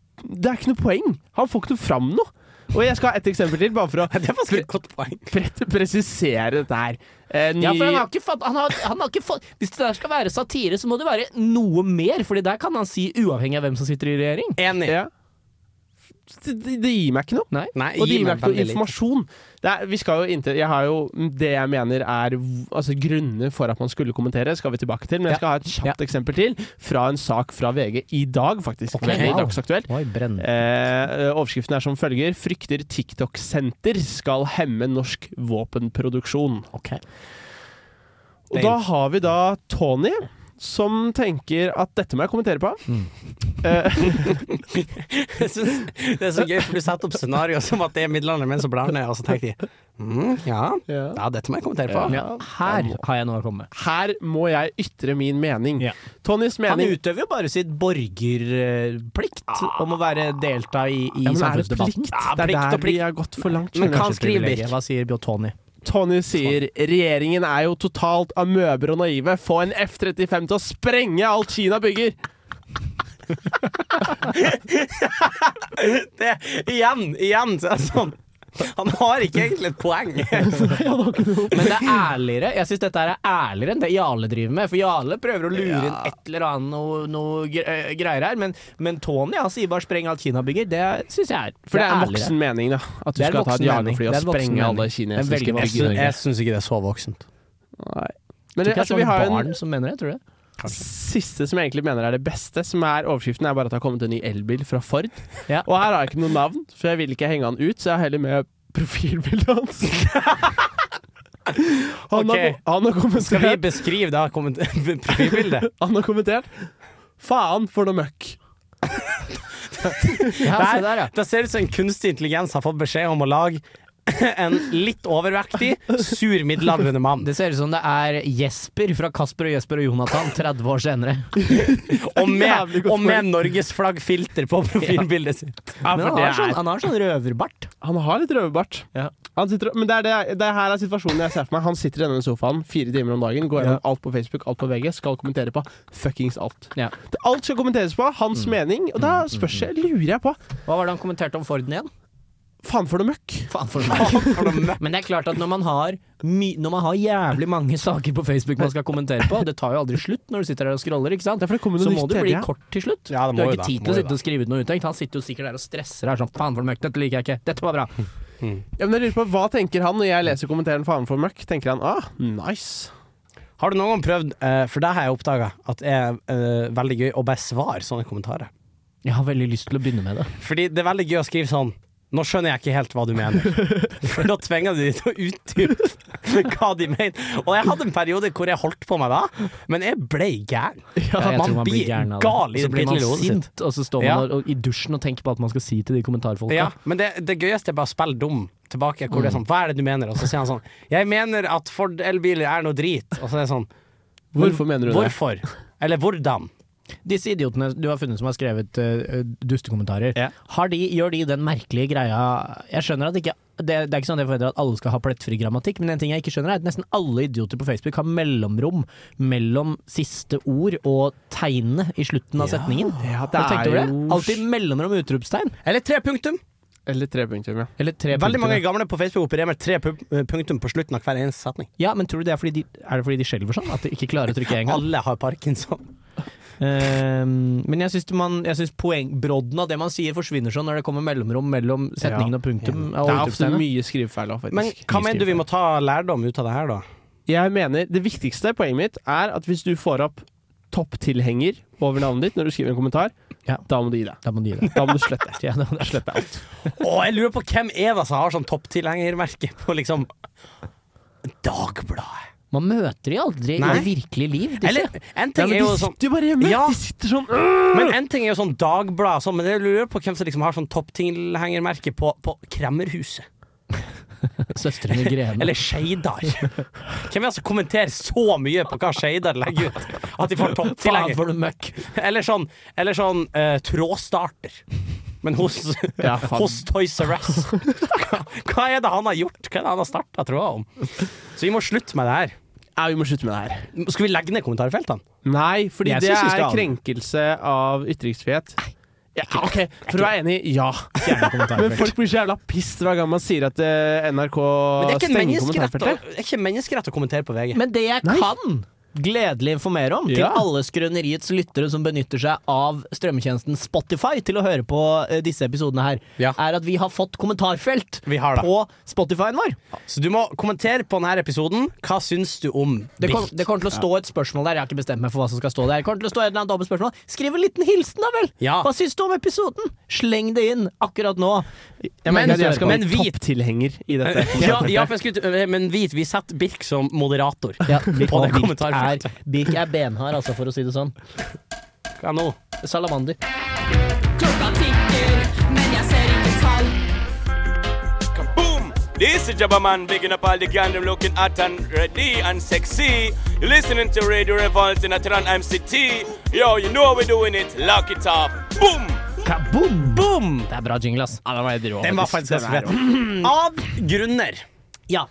D: det er ikke noe poeng. Han får ikke noe fram noe. Og jeg skal ha et eksempel til, bare for å
C: Det er faktisk et godt poeng.
D: pre- presisere dette her. Eh, ny,
E: Ja, for han har ikke fått, han har, han har ikke fått Hvis det der skal være satire, så må det være noe mer, Fordi der kan han si uavhengig av hvem som sitter i regjering.
C: Enig.
D: ja. det, det gir meg ikke noe.
E: Nei.
C: Nei,
D: Og det
C: gi
D: gir meg
C: meg
D: ikke noe
C: veldig lite.
D: informasjon. Det er, vi skal jo inntil, jeg har jo det jeg mener er v- altså, grunnene for at man skulle kommentere, skal vi tilbake til. Men jeg skal ha et kjapt eksempel til fra en sak fra VG i dag, faktisk. Veldig
E: wow.
D: dagsaktuell.
E: Oi, brenn.
D: Eh, overskriften er som følger 'Frykter TikTok-senter skal hemme norsk våpenproduksjon'.
E: Ok.
D: Og da har vi da Tony, som tenker at dette må jeg kommentere på.
C: Jeg synes Det er så gøy, for du setter opp scenarioer som at det er middelalderen menn som blar ned, og så tenker de mm, ja, ja, dette må jeg kommentere på.
E: Ja, her har jeg noe å komme med.
D: Her må jeg ytre min mening.
E: Ja.
D: Tonys
I: Han
D: mening
I: utøver jo bare sitt
C: Ah.
I: borgerplikt om å være delta i, i
D: Ja, men er det
I: samfunnsdebatten.
D: plikt? Det er
C: plikt og
D: der vi
C: plikt.
D: har gått for langt.
C: Men
D: skjønner
C: hva
D: jeg.
C: han skriver Birk?
E: Hva sier Bjotoni?
D: Tony sier regjeringen er jo totalt amøber og naive. Få en F-35 til å sprenge alt Kina bygger!
C: Det, igjen, igjen, så er det sånn. Han har ikke egentlig et poeng.
E: Men det er ærligere. Jeg syns dette her er ærligere enn det Jarle driver med. For Jarle prøver å lure inn et eller annet noe, noe gre- øh, greier her. Men, men Tony han sier bare 'spreng alt Kina bygger'. Det syns jeg er
D: For det er en
E: ærligere.
D: voksen mening, da. At du
E: Det er en
D: skal ta et
E: voksen mening. Det
D: jagerfly og
E: er en voksen
D: sprenge
E: mening.
D: alle
E: Det er
D: kinesiske
E: veldig
D: bygg i Norge.
C: syns ikke det er så voksent.
E: Tror
D: Nei. Men
E: ikke det er
D: altså, vi
E: sånn
D: har en
E: barn som mener det, tror du?
D: siste som jeg egentlig mener er det beste, som er overskriften, er bare at det har kommet en ny elbil fra Ford.
E: Ja.
D: Og her har jeg ikke noe navn, for jeg vil ikke henge han ut, så jeg har heller med profilbildet hans. Han,
C: Ok.
D: har, han,
C: Skal
D: har
C: vi
D: kommentert,
C: beskrive da komment- profilbildet?
D: han har kommentert Faen for noe møkk.
E: Ja,
C: Der,
E: se der, ja.
C: Det ser ut som en kunstig intelligens har fått beskjed om å lage en litt overvektig, sur middelaldrende mann.
E: Det ser ut som det er Jesper fra Kasper og Jesper og Jonathan 30 år senere.
C: Og med,
D: Jævlig godt
C: og med norgesflaggfilter på profilbildet sitt.
E: Men han har sånn, han har sånn røverbart.
D: Han har litt røverbart.
E: Ja.
D: Han sitter, men det er, det, det her er situasjonen jeg ser for meg. Han sitter i denne sofaen fire timer om dagen, går gjennom alt på Facebook, alt på VG, skal kommentere på fuckings alt.
E: Ja.
D: Det- Alt skal kommenteres på, hans
C: Mm.
D: mening, og da spørs jeg, lurer jeg på
E: Hva var det han kommenterte om Forden igjen?
D: Faen for noe møkk.
E: Faen for meg. Men det er klart at når man, har my når man har jævlig mange saker på Facebook man skal kommentere på, det tar jo aldri slutt når du sitter der og scroller, ikke sant?
D: Derfor det kommer noe
E: Så må
D: nytt
E: det
D: hele
E: bli
D: tida.
E: kort til slutt.
C: Ja, det
E: du
C: må
E: har ikke
C: jo da,
E: tid
C: må
E: til å
C: jo
E: sitte og skrive ut noe uttenkt. Han sitter jo sikkert der og stresser her sånn faen for møkk, dette liker jeg ikke, dette var bra.
D: Ja, men jeg lurer på, Hva tenker han når jeg leser kommenteren faen for møkk? Tenker han ah, nice.
C: Har du noen gang prøvd, eh, for det har jeg oppdaga, at det er eh, veldig gøy å bare svare sånne kommentarer?
E: Jeg har veldig lyst til å begynne med det.
C: Fordi det er veldig gøy å skrive sånn Nå skjønner jeg ikke helt hva du mener. For da tvinger du de til å utdype hva de mener. Og jeg hadde en periode hvor jeg holdt på meg da, men jeg ble gæren.
E: jeg tror
C: man blir
E: gæren av det.
C: gal
E: Og
C: i
E: så
C: det
E: blir man
C: bitte lille hodet sitt.
E: sint, og så står man
C: Ja.
E: der og, i dusjen og tenker på alt man skal si til de kommentarfolka.
C: Ja, men det, det gøyeste er bare å spille dum tilbake. Hvor det
D: Mm.
C: er sånn, Hva er det du mener? Og så sier han sånn Jeg mener at Ford elbiler er noe drit. Og så er det sånn
D: Hvorfor mener du det?
C: Hvorfor? Eller hvordan?
E: Disse idiotene du har funnet som har skrevet eh, dustekommentarer,
D: Ja.
E: har de, gjør de den merkelige greia Jeg skjønner at ikke det, det er ikke sånn at jeg forventer at alle skal ha plettfri grammatikk, men en ting jeg ikke skjønner er at nesten alle idioter på Facebook har mellomrom mellom siste ord og tegnene i slutten av setningen.
D: Ja,
E: Har du
D: det
E: tenkt over det?
D: er jo-
E: Alltid mellomrom og utropstegn.
C: Eller tre punktum.
D: Eller tre punktum, ja.
E: Eller tre
C: Veldig mange
E: punkter.
C: gamle på Facebook opererer med tre pu- eh, punktum på slutten av hver eneste setning.
E: Ja, men tror du det er fordi de, er det fordi de skjelver sånn? At de ikke klarer å trykke en gang?
C: Alle har parkinson.
E: Ehm, men jeg syns, man, jeg syns poengbrodden av det man sier forsvinner sånn når det kommer mellomrom mellom setningen og punktum.
D: Det er
E: Og
D: ofte
E: utropstegnet.
D: mye skrivefeil òg, faktisk.
C: Men hva mener du vi må ta lærdom ut av det her, da?
D: Jeg mener, Det viktigste poenget mitt er at hvis du får opp topptilhenger over navnet ditt når du skriver en kommentar,
E: Ja.
D: da må du gi deg.
E: Da må du gi deg.
D: Da må du slette.
E: Ja, da må du slette.
D: alt.
C: Å, jeg lurer på hvem er det som har sånn topptilhengermerke på liksom Dagbladet?
E: Man møter de aldri
C: Nei.
E: i det virkelige liv. Disse.
C: Eller en ting er jo sånn
D: Altså, jo bare hjemme!
C: Ja.
D: sitter sånn
C: Men en ting er jo sånn dagblad, og sånn, men jeg lurer på hvem som liksom har sånn topptilhengermerke på, på Kremmerhuset.
E: Søstrene Grene.
C: Eller Skeidar. Hvem er det som kommenterer så mye på hva Shadar legger ut? At de får
E: Faen
C: topptilhenger?
E: for noe møkk.
C: Eller sånn, eller sånn eh, trådstarter. Men hos,
D: Ja, faen.
C: hos Toys R Us. Hva, hva er det han har gjort? Hva er det han har starta tråder om? Så vi må slutte med det her.
D: Ja, vi må slutte med det her.
C: Skal vi legge ned kommentarfeltene?
D: Nei, fordi
E: Jeg
D: det
E: synes vi
D: er
E: skal ha den.
D: krenkelse av ytringsfrihet. Ja, OK, for å være enig, ja. Men folk blir så jævla pissed hver gang man sier at eh, NRK
C: Men det er ikke en
D: stenger
C: menneskerett å,
D: kommentarfeltet.
C: det er ikke en menneskerett å kommentere på VG.
E: Men det jeg kan gledelig informere om til
D: Ja.
E: alle Skrøneriets lyttere som benytter seg av strømmetjenesten Spotify til å høre på eh, disse episodene her,
C: Ja.
E: er at vi har fått kommentarfelt
C: Vi har det.
E: på Spotifyen vår.
C: Så du må kommentere på denne episoden. Hva syns du om
E: Det, kom,
C: Birk?
E: det kommer til å stå et spørsmål der. Jeg har ikke bestemt meg for hva som skal stå der. Det kommer til å stå et eller annet dobbelt spørsmål Skriv en liten hilsen, da vel!
C: Ja.
E: Hva syns du om episoden? Sleng det inn akkurat nå.
D: Jeg mener at jeg skal
C: men
D: være
C: vi-
D: topptilhenger i dette.
C: Ja, ja, for jeg skulle, eh, men vit, vi setter Birk som moderator.
E: Ja, Birk,
C: På det
E: Birk,
C: kommentarfeltet.
E: er, Birk er benhard, altså, for å si det sånn.
C: Hva nå?
E: Salamander.
H: Klokka tikker, men jeg ser ikke tall.
J: Boom! This is Jabba Man bigging up all the gandom looking at and ready and sexy. You're listening to Radio Revolt in Atran MCT. Yo, you know how we're doing it. Lock it up. Boom!
E: Kaboom! Boom! Det er bra jingle, ass. Ja, den var helt rå.
C: Den var faktisk ganske fet. Av grunner
E: Ja.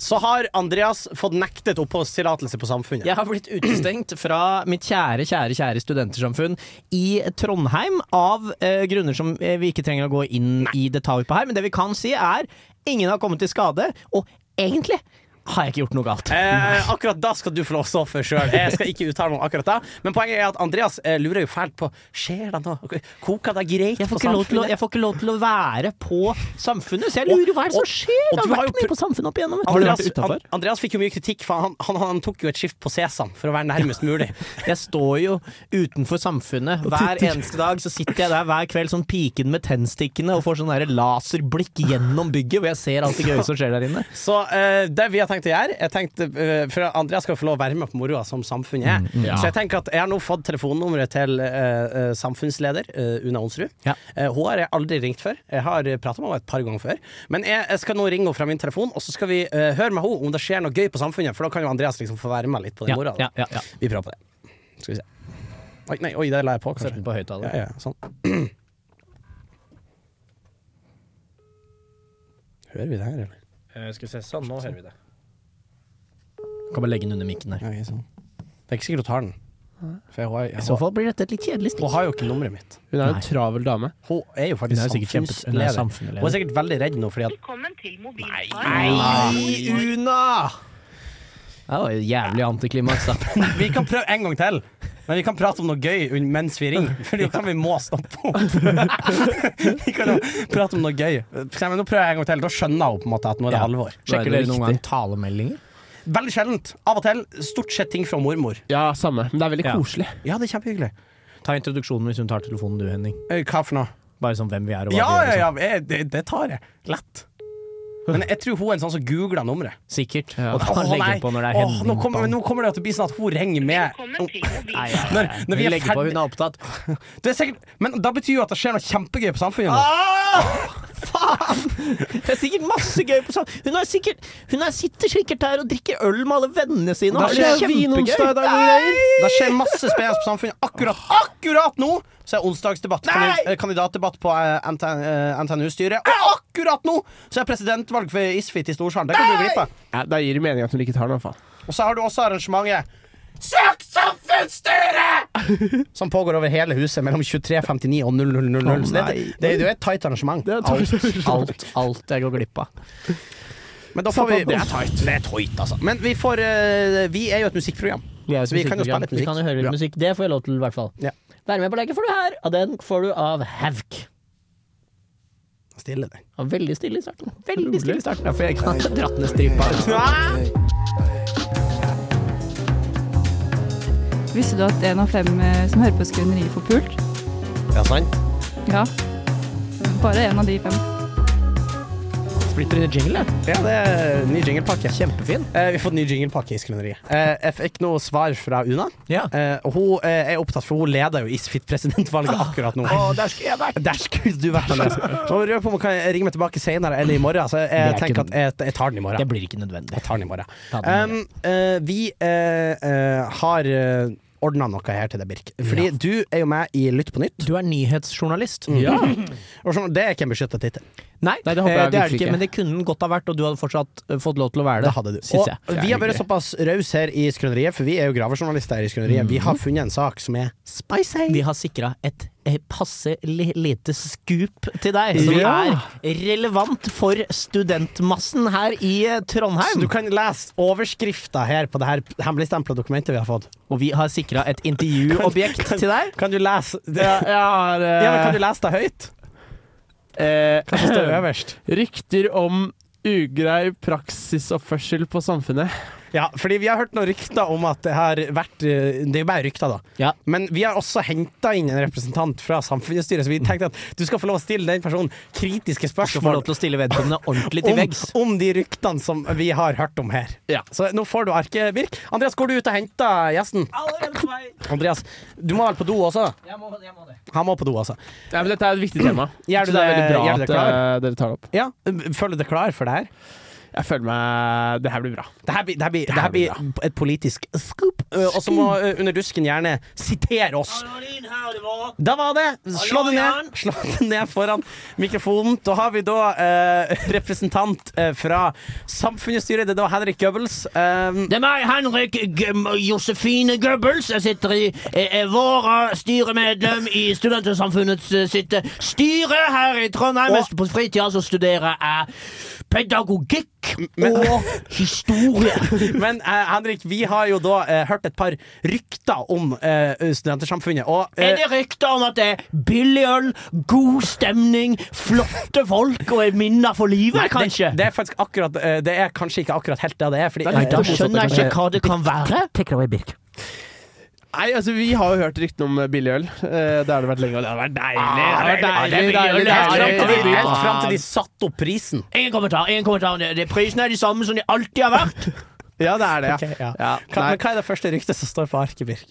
C: så har Andreas fått nektet oppholdstillatelse på Samfunnet.
E: Jeg har blitt utestengt fra mitt kjære, kjære kjære studentersamfunn i Trondheim av eh, grunner som eh, vi ikke trenger å gå inn i detalj på her. Men det vi kan si, er ingen har kommet til skade, og egentlig har jeg ikke gjort noe galt.
C: Eh, akkurat da skal du få lov å stå for sjøl. Jeg skal ikke uttale meg om akkurat da. Men poenget er at Andreas eh, lurer jo fælt på Skjer det noe. Koker det greit
E: Jeg får,
C: på
E: ikke lov til å,
C: samfunnet?
E: jeg får ikke lov til å være på Samfunnet, så jeg lurer jo hva er det
C: Og-
E: som skjer?
C: og
E: Jeg
C: du
E: har
C: har
E: vært
C: jo
E: mye på Samfunnet opp igjennom. vet
C: Andreas,
E: du.
C: An Andreas fikk jo mye kritikk, for han, han, han tok jo et skift på Sesam for å være nærmest mulig.
E: Jeg står jo utenfor samfunnet hver eneste dag. Så sitter jeg der hver kveld sånn piken med tennstikkene og får sånn der laserblikk gjennom bygget, hvor jeg ser alt det gøye som skjer der inne.
C: Så eh, det vi har tenkt å gjøre jeg tenkte, eh, For Andreas skal få lov å være med på moroa som samfunnet
E: Mm,
C: er. Så jeg tenker at jeg har nå fått telefonnummeret til eh, eh, samfunnsleder eh, Una Onsrud.
E: Ja.
C: Eh, hun har jeg aldri ringt før. Jeg har prata med henne et par ganger før. Men jeg, jeg skal nå ringe henne fra min telefon, og så skal vi eh, høre med henne om det skjer noe gøy på samfunnet. For da kan jo Andreas liksom få være med litt på den moroa. da.
E: ja, ja.
C: Vi prøver på det. Skal vi se. Oi, nei, oi, der la jeg på. Kanskje.
E: På høyttaler.
C: Ja, ja, sånn. Hører vi det her, eller?
K: Skal vi se, sånn, nå hører vi det.
E: Kan bare legge den under mikken der.
C: Ja, ok, sånn. Det er ikke sikkert hun tar den. For hun, er,
E: I så fall blir dette et litt kjedelig
C: hun
E: stikk.
C: har jo ikke nummeret mitt.
D: Hun er
E: Nei.
D: en travel dame.
C: Hun er jo
E: Hun
C: faktisk
E: er jo sikkert kjempe- hun er
C: samfunnsleder. Hun er
E: samfunnsleder.
C: sikkert veldig redd nå fordi at
E: Nei, Una! Det var jo jævlig antiklimaks, da.
C: Vi kan prøve en gang til! Men vi kan prate om noe gøy un- mens vi ringer, for det kan vi må stoppe opp. vi kan jo prate om noe gøy. For eksempel, nå prøver jeg en gang til. Da skjønner hun på en måte at nå er det
E: Ja.
C: alvor.
E: Sjekker
D: det
E: dere noen gang talemeldinger?
C: Veldig sjeldent. Av og til. Stort sett ting fra mormor.
D: Ja, samme. Men det er veldig
E: Ja.
D: koselig.
C: Ja, det er kjempehyggelig.
E: Ta introduksjonen hvis hun tar telefonen du, Henning.
C: Eh, Hva for noe?
E: Bare sånn hvem vi er og hva
C: Ja,
E: vi gjør. og
C: ja,
E: sånn.
C: ja. jeg- Det, det tar jeg. Lett. Men jeg tror hun er en sånn som googler nummeret.
E: liksom. Sikkert.
D: Ja.
E: Og da
C: Åh,
E: legger
C: nei.
E: hun på når det er
C: Åh,
E: Henning.
C: nå, kommer,
E: på.
C: nå kommer det til å bli sånn at hun ringer med
E: Nei, ja, ja,
C: Når-
E: ja.
C: når vi
E: Hun
C: er
E: legger på,
C: ferdig-
E: hun er opptatt.
C: det er sikkert, Men da betyr jo at det skjer noe kjempegøy på samfunnet.
E: Ah,
C: nå.
E: Det er sikkert masse gøy på sånn. Hun, er sikkert, hun er sitter sikkert der og drikker øl med alle vennene sine. Og
C: Da
E: har det
C: skjer
E: kjempegøy.
C: vinonsdag i dag,
E: Nei!
C: Det skjer masse spennende på samfunnet. Akkurat, akkurat nå så er onsdagsdebatt.
E: Ah. Nei!
C: kandid- eh, Kandidatdebatt på eh, NTN eh, NTNU-styret. Og akkurat nå så er presidentvalg for Isfit i Storsalen. Det kan du glippe av.
D: Ja, da gir det mening at hun ikke tar den, i hvert fall.
C: Og så har du også arrangementet Søk samfunnsstyret! Som pågår over hele huset mellom 23.59 og 0000. så det, det, det er jo et tight arrangement.
E: Alt, alt, alt jeg går glipp av.
C: Men da får vi Det er tight. Det er tight, altså. Men vi får eh, Vi er jo et musikkprogram.
E: er
C: Så vi kan jo spille litt
E: Vi kan jo høre litt
C: Bra.
E: musikk. Det får jeg lov til, i hvert fall.
C: Ja.
E: Være med på leken får du her, og den får du av Havk.
C: Stille deg.
E: Og Veldig stille i starten. Veldig stille i starten. Derfor jeg ikke har dratt ned stripa.
L: Visste du at en av fem eh, som hører på Skrøneriet, får pult?
C: Ja, sant?
L: Ja. Bare en av de fem.
C: Så
E: splitter i jingle.
C: Ja, det er ny jinglepakke.
E: Kjempefin.
C: Eh, vi har fått ny jinglepakke i Skrøneriet. Eh, jeg fikk noe svar fra Una.
E: Ja.
C: Eh, og hun eh, er opptatt, for hun leder jo Isfit-presidentvalget akkurat nå.
E: der skulle jeg vært!
C: Der skulle du vært Andreas. Så hun eh, lurer på om hun kan ringe meg tilbake senere eller i morgen. Så jeg
E: Det er
C: tenker
E: ikke-
C: at jeg, jeg tar den i
E: Det
C: morgen.
E: blir ikke nødvendig.
C: Jeg tar den i morgen.
E: Ta den
C: Um, eh, vi eh, eh, har uh, ordna noe her til deg, Birk. Fordi du er jo med i Lytt på nytt.
E: Du er nyhetsjournalist.
C: Mm. Ja. Og sånn, det er ikke en beskytta tittel.
E: Nei,
D: Nei, det håper
E: eh,
D: jeg
E: det er det
D: virkelig
E: ikke,
D: ikke.
E: men det kunne den godt ha vært, og du hadde fortsatt eh, fått lov til å være det.
C: Det hadde du.
E: Syns jeg.
C: Og vi har vært såpass rause her i Skrøneriet, for vi er jo gravejournalister her i Skrøneriet. Vi
E: Mhm.
C: har funnet en sak som er spicy.
E: Vi har sikra et eh, passe li- lite skup til deg, som
C: Ja.
E: er relevant for studentmassen her i eh,
C: Så
E: Trondheim.
C: du kan lese overskrifta her på det her hemmeligstempla dokumentet vi har fått.
E: Og vi har sikra et intervjuobjekt til deg.
C: Kan du lese det, ja,
D: Jeg har eh,
C: men Kan du lese det høyt?
D: eh,
C: Det står øverst.
D: Rykter om ugrei praksisoppførsel på samfunnet.
C: Ja, fordi vi har hørt noen rykter om at det har vært eh, Det er jo bare rykter, da.
E: Ja.
C: Men vi har også henta inn en representant fra samfunnsstyret, så vi tenkte at du skal få lov å stille den personen kritiske
E: Du får
C: spørsmål
E: lov til å stille vedkommende ordentlig til
C: om,
E: veggs.
C: om de ryktene som vi har hørt om her.
D: Ja.
C: Så nå får du arket, Birk. Andreas, går du ut og henter gjesten? Andreas, du må vel på do også? Han må på do, altså.
D: Ja, men dette er et viktig tema.
C: Gjør du
D: så det er
C: det-
D: veldig bra
C: gjør du det
D: at
C: klar?
D: eh, dere tar det opp.
C: Ja, Føler du deg klar for det her?
D: Jeg føler meg Det her blir bra.
C: Det her blir, det her blir, det her blir et politisk scoop. Eh, Og så må eh, Under dusken gjerne sitere oss. Da var det! Slå det ned, Slå det ned foran mikrofonen. Da har vi da eh, representant eh, fra samfunnsstyret. Det er da Henrik Goebbels. Eh,
E: Det er meg, Henrik Josefine Goebbels. Jeg sitter i eh, Våra styremedlem i Studentersamfunnets eh, sitt styre her i Trondheim.
C: Mens
E: på fritida så studerer jeg pedagogikk og historie.
C: men eh, Henrik, vi har jo da eh, hørt et par rykter om eh, Studentersamfunnet, og eh,
E: Er det rykter om at det er billig øl, god stemning, flotte folk og minner for livet, kanskje?
C: Det, det er faktisk akkurat eh, Det er kanskje ikke akkurat helt det det er. Fordi,
E: Nei, da
C: eh,
E: skjønner jeg ikke hva det kan være.
D: Nei, altså Vi har jo hørt ryktene om eh, billig øl. Eh, Det har det vært lenge, og det har vært deilig. Ah, Det har vært deilig,
C: Helt
D: deilig, deilig,
C: fram til de-
D: deilig.
C: helt fram til de satte opp prisen.
E: Ingen kommentar. ingen kommentar om det. Det- Prisene er de samme som de alltid har vært.
D: Ja, det er det.
C: Ok, ja.
D: ja. ja.
C: Hva,
D: Nei,
C: men hva er det første ryktet som står på arket, Birk?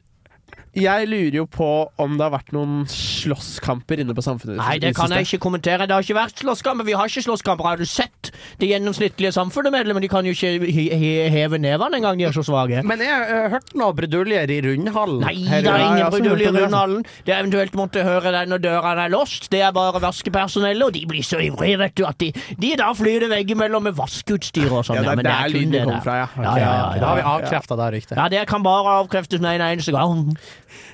D: jeg lurer jo på om det har vært noen slåsskamper inne på samfunnet. i
E: Nei, det
D: siste.
E: kan jeg ikke kommentere. Det har ikke vært slåsskamper. Vi har ikke slåsskamper. Har du sett det gjennomsnittlige samfunnsmedlemmet? De kan jo ikke he- he- heve nevene engang, de er så svake.
C: Men jeg har hørt noen bruduljer i Rundhallen.
E: Nei, det sånn er
D: jeg
E: ingen
D: har også hørt
E: brudulje
D: om
E: i
D: det, altså.
E: Rundhallen. Det er eventuelt måtte høre den når dørene er låst. Det er bare vaskepersonellet, og de blir så ivrige, vet du, at de, de da flyr det veggimellom med vaskeutstyr og sånn.
D: Ja, det er
E: men
D: der
E: kun
D: lyden
E: det
D: kom
E: der.
D: fra, ja.
E: Ja, ja, ja,
C: Da
E: ja.
C: har vi avkrefta det ryktet.
E: Ja, det kan bare avkreftes med en eneste gang.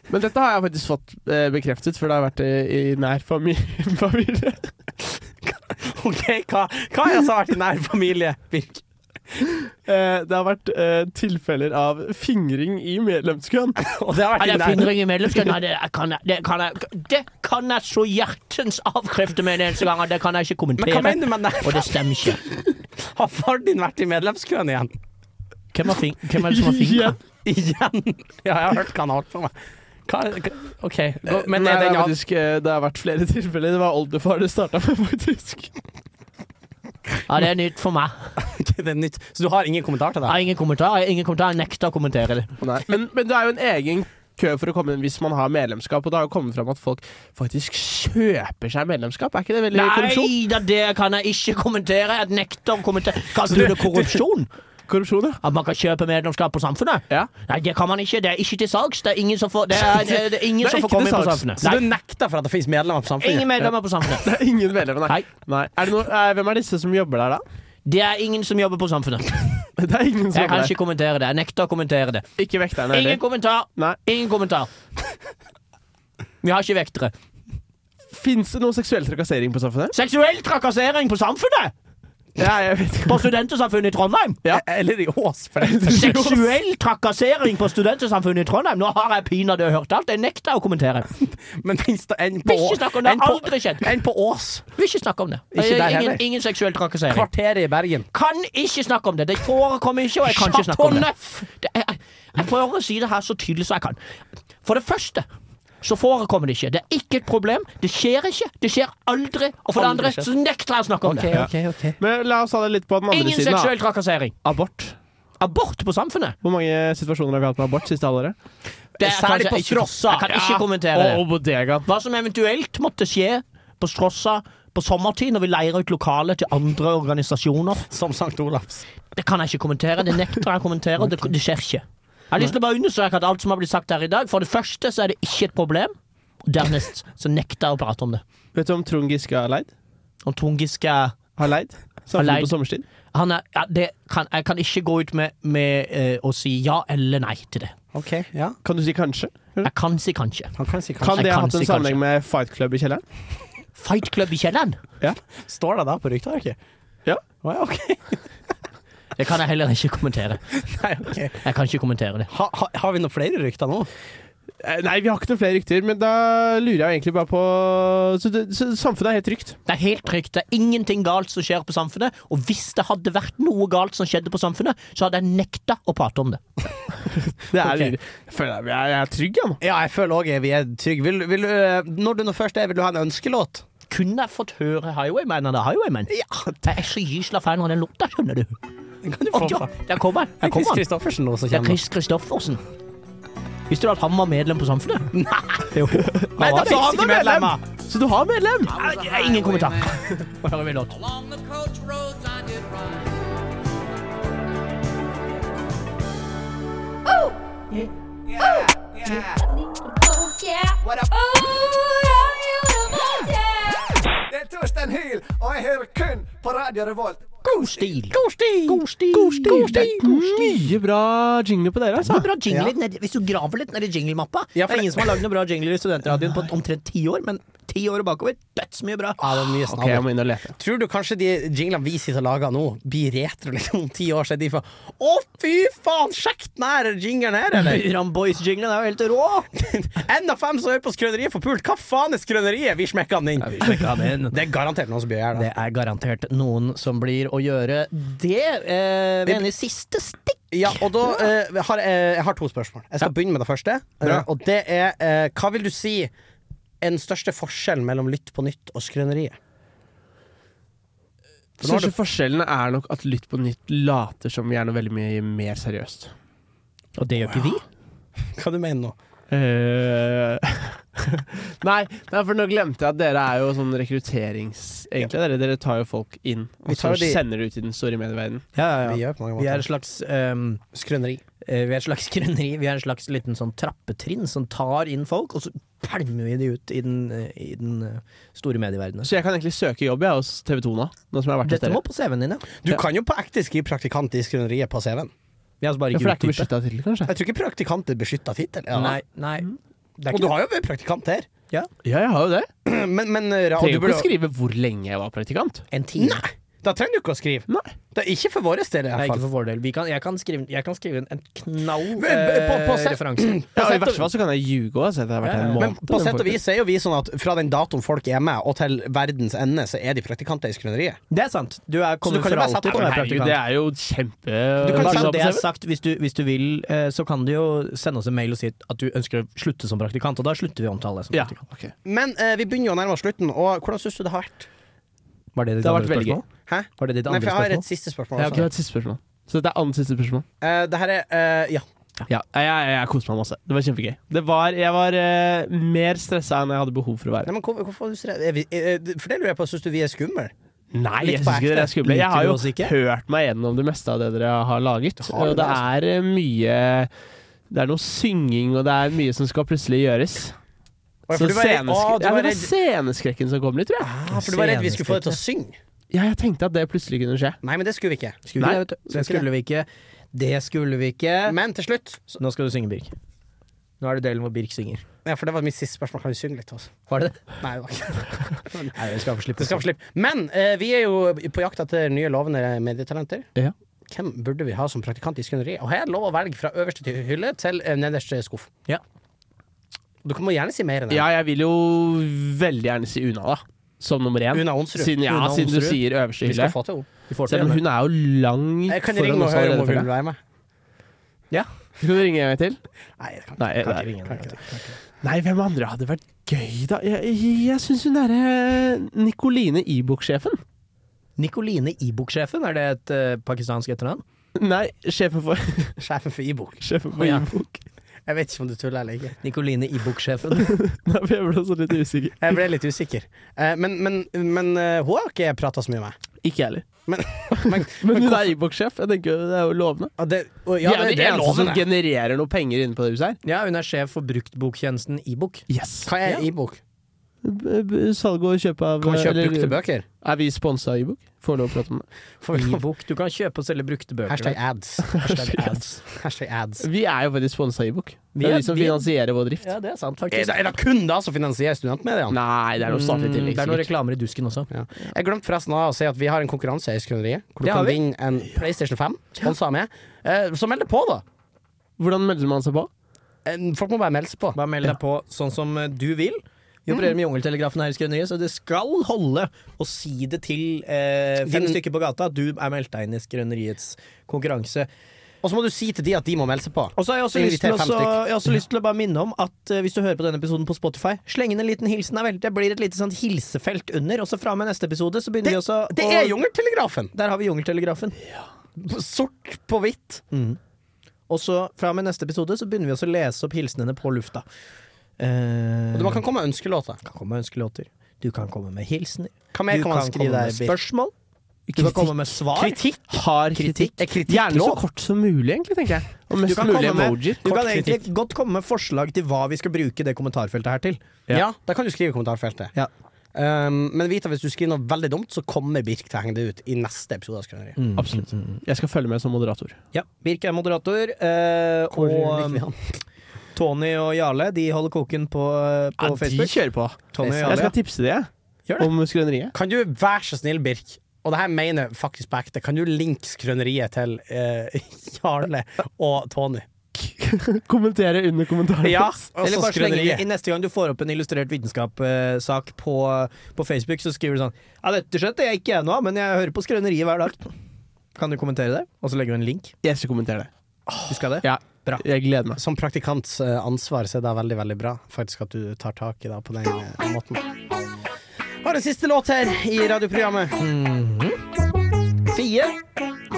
D: Men dette har jeg faktisk fått eh, bekreftet, for det har vært i, i nær familie. familie.
C: Ok, hva, hva er det som har vært i nær familie, Birk?
D: Eh, det har vært eh, tilfeller av fingring i medlemskøen.
C: Og det
E: Ja,
C: har vært
E: det
C: i
E: er
C: nær
E: fingring i medlemskapet. Nei, det er- kan jeg, det kan jeg, det kan jeg så hjertens avkrefte med en eneste gang, og det kan jeg ikke
C: Men hva
E: kommentere.
C: mener du med nær?
E: Og det stemmer ikke.
C: Har far din vært i medlemskøen igjen?
E: Hvem, har fing hvem er det som har fingra?
C: Igjen? Ja, jeg har hørt hva han har holdt på med. Hva, hva- OK, gå- men
D: Nei,
C: er
D: det,
C: den
D: har
C: av
D: faktisk, eh, det har vært flere tilfeller. Det var oldefar det starta med, faktisk.
E: Ja, det er nytt for meg.
C: Ok, det er nytt? Så du har ingen kommentar til
E: Jeg har
C: det?
E: ingen kommentar. Jeg, har ingen kommentar. jeg nekter å kommentere det.
D: Men, men det er jo en egen kø for å komme inn hvis man har medlemskap, og det har jo kommet fram at folk faktisk kjøper seg medlemskap. Er ikke det veldig korrupsjon?
E: Nei da, det kan jeg ikke kommentere. Jeg nekter å kommentere. Kaller du det korrupsjon?
D: Korrupsjon, ja.
E: At man kan kjøpe medlemskap på Samfunnet?
D: Ja.
E: Nei, det kan man ikke. Det er ikke til salgs. Det er ingen som får, det er, det er, det er ingen
D: Det er
E: som
D: ikke
E: får komme inn
D: til
E: på
D: salgs.
E: Samfunnet.
C: Så
E: Nei,
C: du nekter for at det finnes medlemmer på
E: ingen
C: Samfunnet?
E: medlemmer på Samfunnet.
D: Det er ingen medlemmer, nei.
E: Nei.
D: nei. Er det noe, eh, hvem er disse som jobber der, da?
E: Det er ingen som jobber på Samfunnet.
D: Det er ingen som
E: Jeg kan
D: jobber
E: ikke kommentere det. Jeg nekter å kommentere det.
D: der. Ikke vekterne
E: Ingen
D: heller.
E: kommentar.
D: Nei.
E: Ingen kommentar. Vi har ikke vektere.
D: Fins det noe seksuell trakassering på samfunnet?
E: Seksuell trakassering på Samfunnet!
D: Ja, jeg vet ikke.
E: På Studentersamfunnet i Trondheim!
D: Ja.
C: Eller i Ås, for den saks skyld.
E: Seksuell trakassering på Studentersamfunnet i Trondheim! Nå har jeg pinadø hørt alt. Jeg nekter å kommentere.
C: Men finnes det en på
E: Vil ikke snakke om det.
C: en på-
E: Aldri skjedd.
C: En på Ås.
E: Vil ikke snakke om det.
C: Ikke der heller.
E: ingen, ingen seksuell trakassering.
C: Kvarteret i Bergen.
E: Kan ikke snakke om det. Det forekommer ikke, og jeg kan ikke snakke om det.
C: Chateau Neuf!
E: det jeg, jeg prøver å si det her så tydelig som jeg kan. For det første så forekommer det ikke. Det er ikke et problem. Det skjer ikke. Det skjer aldri. Og for det andre så nekter jeg å snakke om det.
D: Men la oss ha det litt på den andre
E: Ingen
D: siden.
E: seksuell
D: Da.
E: trakassering.
D: Abort.
E: Abort på samfunnet.
D: Hvor mange situasjoner har vi hatt med abort siste halvåret?
E: Det er
M: Særlig
E: kanskje
M: på
E: ikke-
M: Frossa.
E: Jeg kan ikke
M: Ja.
E: kommentere det.
D: Og bodega.
E: Hva som eventuelt måtte skje på Strossa på sommertid, når vi leier ut lokalet til andre organisasjoner,
C: Som Sankt Olavs.
E: det kan jeg ikke kommentere. Det nekter jeg å kommentere, og det, det skjer ikke. Jeg har lyst til å bare understreke at alt som har blitt sagt her i dag, for det første så er det ikke et problem, og dernest så nekter jeg å prate om det.
D: Vet du om Trond Giske har leid?
E: Om Trond Giske
D: Har leid?
E: Har leid.
D: Samfunnet på sommerstid?
E: han er, ja, det kan, Jeg kan ikke gå ut med, med eh, å si ja eller nei til det.
C: Ok, ja.
D: Kan du si kanskje?
E: Jeg kan si kanskje.
C: Han kan si kanskje
D: Kan det ha hatt
E: kanskje,
D: en sammenheng med Fight Club i kjelleren?
E: Fight Club i kjelleren?
C: Står det der på ryktearket?
D: Ja.
C: Å, ja, ok.
E: Det kan jeg heller ikke kommentere.
C: Nei, ok.
E: Jeg kan ikke kommentere det.
C: Ha, ha, har vi noen flere rykter nå?
D: Eh, Nei, vi har ikke noen flere rykter, men da lurer jeg egentlig bare på Så, det, så samfunnet er helt trygt?
E: Det er helt trygt. Det er ingenting galt som skjer på samfunnet. Og hvis det hadde vært noe galt som skjedde på samfunnet, så hadde jeg nekta å prate om det.
D: Det er Jeg føler jeg, jeg er trygg, jeg nå.
C: Ja, jeg føler òg vi er trygge. Vil, vil, du, eh, når du nå først er, vil du ha en ønskelåt?
E: Kunne jeg fått høre Highwayman eller Highwayman? Ja, Jeg er så gysla fan av den låta, skjønner du.
C: Kan du
E: Å
C: få
E: ja,
C: fra-
E: der kommer han. Der
C: Det er Chris
E: kommer han.
C: Kristoffersen nå som
E: Det er
C: kommer.
E: Chris Kristoffersen. Visste du at han var medlem på Samfunnet? Nei, jo.
D: Nei,
E: han var
D: da
E: faktisk
D: er
E: ikke medlem!
D: medlem! Så du har medlem?
E: Nei, Ingen kommentar. Hva hører vi låt?
N: Along the coach roads I did run.
O: Det er Torstein Hyl, og jeg hører kun på Radio Revolt.
E: God stil. God stil. God stil. God stil.
D: Mye bra jingle på dere, altså.
E: Bra jingle litt nedi- Hvis du graver litt nedi jinglemappa
C: Ja,
E: Det
C: for
E: er
C: det-
E: ingen som har lagd noen bra jingler i studentradioen på omtrent ti år, men ti år og bakover dødsmye bra.
C: Ja, det er mye
D: Ok, jeg
C: snabel.
D: må inn og lete.
C: Tror du kanskje de jinglene vi sitter og lager nå, blir retro litt om ti år? Så er de for Å, fy faen! Sjekk den her jinglen her, eller?
E: Ram Boys-jinglen er jo helt rå!
C: En av fem som hører på Skrøneriet får pult! Hva faen er Skrøneriet? Vi smekker den inn! Det er garantert noen som blir her, da.
E: Det er garantert noen som blir å gjøre det. Eh, ved en i siste stikk.
C: Ja, og da eh, har jeg, jeg har to spørsmål. Jeg skal begynne med det første. eh,
D: Bra.
C: og det er eh, Hva vil du si er den største forskjellen mellom Lytt på nytt og Skrøneriet? For nå har
D: Største forskjellen er nok at Lytt på nytt later som vi er noe veldig mye mer seriøst.
E: Og det gjør ikke vi.
C: Hva du mener nå?
D: Eh, nei, nei, for nå glemte jeg at dere er jo sånn rekrutterings... Egentlig dere, dere tar jo folk inn, og
C: Vi
D: så
C: tar jo de-
D: sender det ut i den store medieverdenen.
C: Vi gjør på mange
E: Vi er
C: måter
E: et slags ehm,
C: Skrøneri.
E: eh, Vi er et slags grønneri. Vi er en slags liten sånn trappetrinn som tar inn folk, og så pælmer vi de ut i den, eh, i den eh, store medieverdenen.
D: Så jeg kan egentlig søke jobb jeg, hos TV 2 nå, nå som jeg har vært hos
E: Dette
D: dere.
E: må på CV-en din, ja.
C: Du kan jo på ekte skrive praktikant i Skrøneriet på CV-en.
E: Vi er altså bare
D: Ja,
E: ikke
D: for det er ikke
E: utdypet.
D: beskytta til, kanskje?
C: Jeg tror ikke praktikant er beskytta tittel. Ja.
E: Nei, nei.
D: Mhm.
E: Det er
C: Og
E: ikke
C: du har jo vært praktikant her.
D: Ja, jeg har jo det.
C: Men, men eh, ra- og
D: Trenger
C: du
D: jo ikke
C: burde
D: å skrive hvor lenge jeg var praktikant.
E: en time.
C: Nei. Da trenger du ikke å skrive.
D: Nei.
C: Det er ikke for vår del, i
E: Det er
C: hvert
E: ikke
C: fall.
E: for vår del. Vi kan, jeg, kan skrive, jeg kan skrive en, en knall
C: Men,
E: eh,
C: på- på se-
E: referanse.
D: Ja, og I
C: sett og-
D: verste fall så kan jeg ljuge òg. Jeg har vært her en
C: Men
D: måned.
C: på sett og vis er jo vi sånn at fra den datoen folk er med, og til verdens ende, så er de praktikanter i Skrøneriet.
E: Det er sant. Du er
C: Så du
E: kommet
C: kan jo
E: for
C: bare sette
E: alltid
C: på
E: til å
C: den
E: være praktikant.
D: Herregud, det er jo kjempe
C: Du kan
E: Bare
C: sende
E: så
C: det
E: det er sagt, hvis du, hvis du vil, eh, så kan du jo sende oss en mail og si at du ønsker å slutte som praktikant, og da slutter vi å omtale deg som
D: Ja,
E: praktikant.
D: ok.
C: Men eh, vi begynner jo å nærme oss slutten, og hvordan syns du det har vært?
E: Var det ditt
D: Det har vært
E: andre
D: veldig
E: spørsmål?
C: Hæ?
E: Var det ditt
C: Nei,
E: andre
C: for jeg har et
E: spørsmål?
C: siste spørsmål.
D: Ja,
C: Også.
D: ok, det er et siste spørsmål. Så dette er annet siste spørsmål.
C: Eh, det her er eh, Ja.
D: Ja, jeg, jeg, jeg koste meg masse. Det var kjempegøy. Det var, jeg var eh, mer stressa enn jeg hadde behov for å være.
C: Nei, men hvor, hvorfor er du så redd? Er vi- er- er- For det lurer jeg på, syns du vi er skumle?
D: Nei,
C: litt
D: jeg
C: på
D: syns ikke dere er
C: ekte.
D: skumle. Jeg
E: Liker
D: har
E: du
D: jo
E: oss ikke?
D: hørt meg gjennom det meste av det dere har laget.
C: Har du
D: og
C: det, altså.
D: det er eh, mye Det er noe synging, og det er mye som skal plutselig gjøres.
C: Å,
D: Så
C: for du var redd-
D: scenesk-
C: å, du
D: ja,
C: var
D: det var
C: redd-
D: sceneskrekken som kom litt, tror jeg.
C: Ah, for du var redd vi skulle få det til å synge.
D: Ja, jeg tenkte at det plutselig kunne skje.
C: Nei, men det skulle vi ikke.
E: Skulle
D: Nei,
E: vi det, vet du.
C: det
E: Det
C: skulle
E: skulle vi ikke. Det skulle vi ikke.
C: Men til slutt så-
E: Nå skal du synge, Birk. Nå er det delen hvor Birk synger.
C: Ja, for det var mitt siste spørsmål. Kan vi synge litt? Også?
E: Var det det?
C: Nei, det var ikke
E: Nei, vi skal få
C: det.
E: slippe.
C: Skal få slippe. Men eh, vi er jo på jakt etter nye lovende medietalenter.
D: Ja.
C: Hvem burde vi ha som praktikant i Skrøneriet? Og her er det lov å velge fra øverste til hylle til eh, nederste skuff.
E: Ja.
C: Du kan- må gjerne si mer enn det.
D: Ja, jeg vil jo veldig gjerne si Una, da. Som nummer én.
C: Una Onsrud.
D: Siden, ja,
C: Una
D: siden du
C: Onsrud.
D: sier øverste
C: Vi skal
D: hylle.
C: få til henne.
D: Selv om hun er jo
C: Jeg
D: langt
C: kan ringe og
D: oss
C: høre om
D: allerede,
C: hun vil
D: føler jeg.
C: være med.
D: Skal du ringe en gang til?
C: Nei, jeg kan ikke.
D: Nei,
C: Kan
D: nei,
C: ikke ringe henne.
D: kan ikke. Nei, hvem andre hadde vært gøy, da? Jeg, jeg, jeg syns hun derre
C: eh,
D: Nikoline Ibok-sjefen.
E: Nikoline Ibok-sjefen, er det et eh, pakistansk etternavn?
D: Nei, sjefen for
C: Sjefen for Ibok.
D: Sjefen for
C: Å, ja.
D: Ibok.
C: Jeg vet ikke om du tuller eller ikke.
E: Nikoline Ibok-sjefen.
D: Nei, for Jeg ble også litt usikker.
C: Jeg ble litt usikker. Eh, Men, men, men eh, hun har ikke prata så mye med.
D: Ikke jeg heller.
C: Men, men,
D: Men hun er Ibok-sjef. Jeg tenker jo, Det er jo lovende.
C: ja, det,
D: Ja,
C: ja,
D: det,
C: det altså sånn
D: er
C: han
D: lov som
C: synes det.
D: genererer noe penger inne på det huset her.
E: Ja, hun er sjef for bruktboktjenesten Ibok.
D: Yes.
C: Hva er Ibok?
D: B- b- Salg og kjøp av eh,
C: Kan man kjøpe
D: eller-
C: brukte bøker?
D: Er vi sponsa av Ibok? Får lov å prate om det.
E: Ibok. Du kan kjøpe og selge brukte bøker.
C: Hashtag ads. Hashtag ads. Hashtag ads.
D: Vi er jo faktisk sponsa av Ibok.
E: Vi
D: Det er
E: er-
D: de som
E: vi er-
D: finansierer vår drift.
E: Ja, det er sant,
C: Er
E: faktisk.
C: det, er det kun da som finansierer studentmediene?
D: Nei, det er noe statlig
E: Mm,
D: tillegg.
E: det er noen
D: sikkert.
E: reklamer i dusken også.
C: Ja. Jeg glemte forresten av å si at vi har en konkurranse i Skrøneriet. Hvor du
E: Det har
C: kan
E: vi.
C: vinne en PlayStation 5, sponsa av meg. Eh, Så meld deg på, da!
D: Hvordan melder man seg på?
C: Eh, Folk må bare melde seg på.
E: Bare meld deg på sånn som eh, du vil. Vi opererer med Jungeltelegrafen her i Skrøneriet, så det skal holde å si det til eh, fem
C: Din-
E: stykker på gata at du er meldt deg inn i Skrøneriets konkurranse.
C: Og så må du si til de at de må melde seg på.
E: Og så har jeg også, lyst til,
C: Inviter fem
E: også,
C: stykk.
E: jeg har også lyst til å bare minne om at eh, hvis du hører på denne episoden på Spotify, sleng inn en liten hilsen her vel. Det blir et lite sånt hilsefelt under, og så fra og med neste episode så begynner vi også
C: Det
E: å-
C: er Jungeltelegrafen!
E: Der har vi Jungeltelegrafen.
C: Sort på hvitt.
E: Mm. Og så fra og med neste episode så begynner vi også å lese opp hilsenene på lufta. Eh,
C: Og Man kan komme med ønskelåter.
E: kan komme med ønskelåter. Du kan komme med hilsener.
C: Hva mer
E: du
C: kan man
E: komme
C: skrive der?
E: med
C: Birk?
E: spørsmål. Du kan komme med svar.
D: Kritikk. Hard kritikk.
C: Er kritikk
D: Gjerne så
C: lov?
D: kort som mulig, egentlig, tenker jeg.
E: Du
D: Og mest
E: kan,
D: mulig
E: komme med,
D: emojier.
E: du kan
D: Kort kritikk.
E: egentlig godt komme med forslag til hva vi skal bruke det kommentarfeltet her til.
C: Ja. da kan du skrive i kommentarfeltet.
E: Ja.
C: Um, men vit at hvis du skriver noe veldig dumt, så kommer Birk til å henge det ut i neste episode av Skrøneriet.
D: Absolutt. Jeg skal følge med som moderator.
E: Ja, Birk er moderator, eh,
C: Hvor liker
E: og
C: vi han?
E: Tony og Jarle de holder koken på, eh, på
D: de
E: Facebook.
D: kjører på.
E: Tony og
D: Jeg
E: Jarle,
D: skal tipse det, jeg.
E: Gjør det.
D: Om Skrøneriet.
C: Kan du være så snill, Birk, og det her mener jeg faktisk på ekte, kan du linke skrøneriet til eh, Jarle og Tony?
D: Kommentere under kommentaren.
E: Eller
C: altså
E: bare slenge
C: skrøneriet.
E: inn i neste gang du får opp en illustrert vitenskap-sak på, på Facebook, så skriver du sånn Ja, dette skjønte jeg ikke ennå, men jeg hører på Skrøneriet hver dag. Kan du kommentere det? Og så legger du en link.
D: Jeg skal kommentere det.
E: Husker jeg det?
D: Ja,
E: Bra.
D: Jeg gleder meg.
C: Som praktikants eh, ansvar så er det veldig, veldig bra faktisk at du tar tak i det på den eh, måten. Har en siste låt her i radioprogrammet.
E: Fie,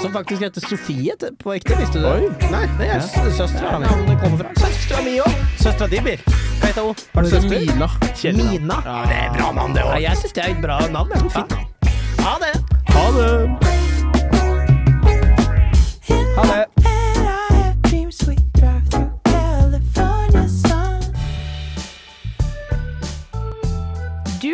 E: som faktisk heter Sofie til- på ekte, visste du det?
C: Nei, det er ja. søstera mi.
E: Navnet kommer fra søstera mi òg.
C: Søstera di, Birk. Hva heter hun? Har du søster?
D: Mina. Kjedelig.
E: Mina. Det er bra navn, det òg. Jeg syns det er et bra navn. Det er fint navn. Ha det.
D: Ha det!
E: Ha det.
L: Du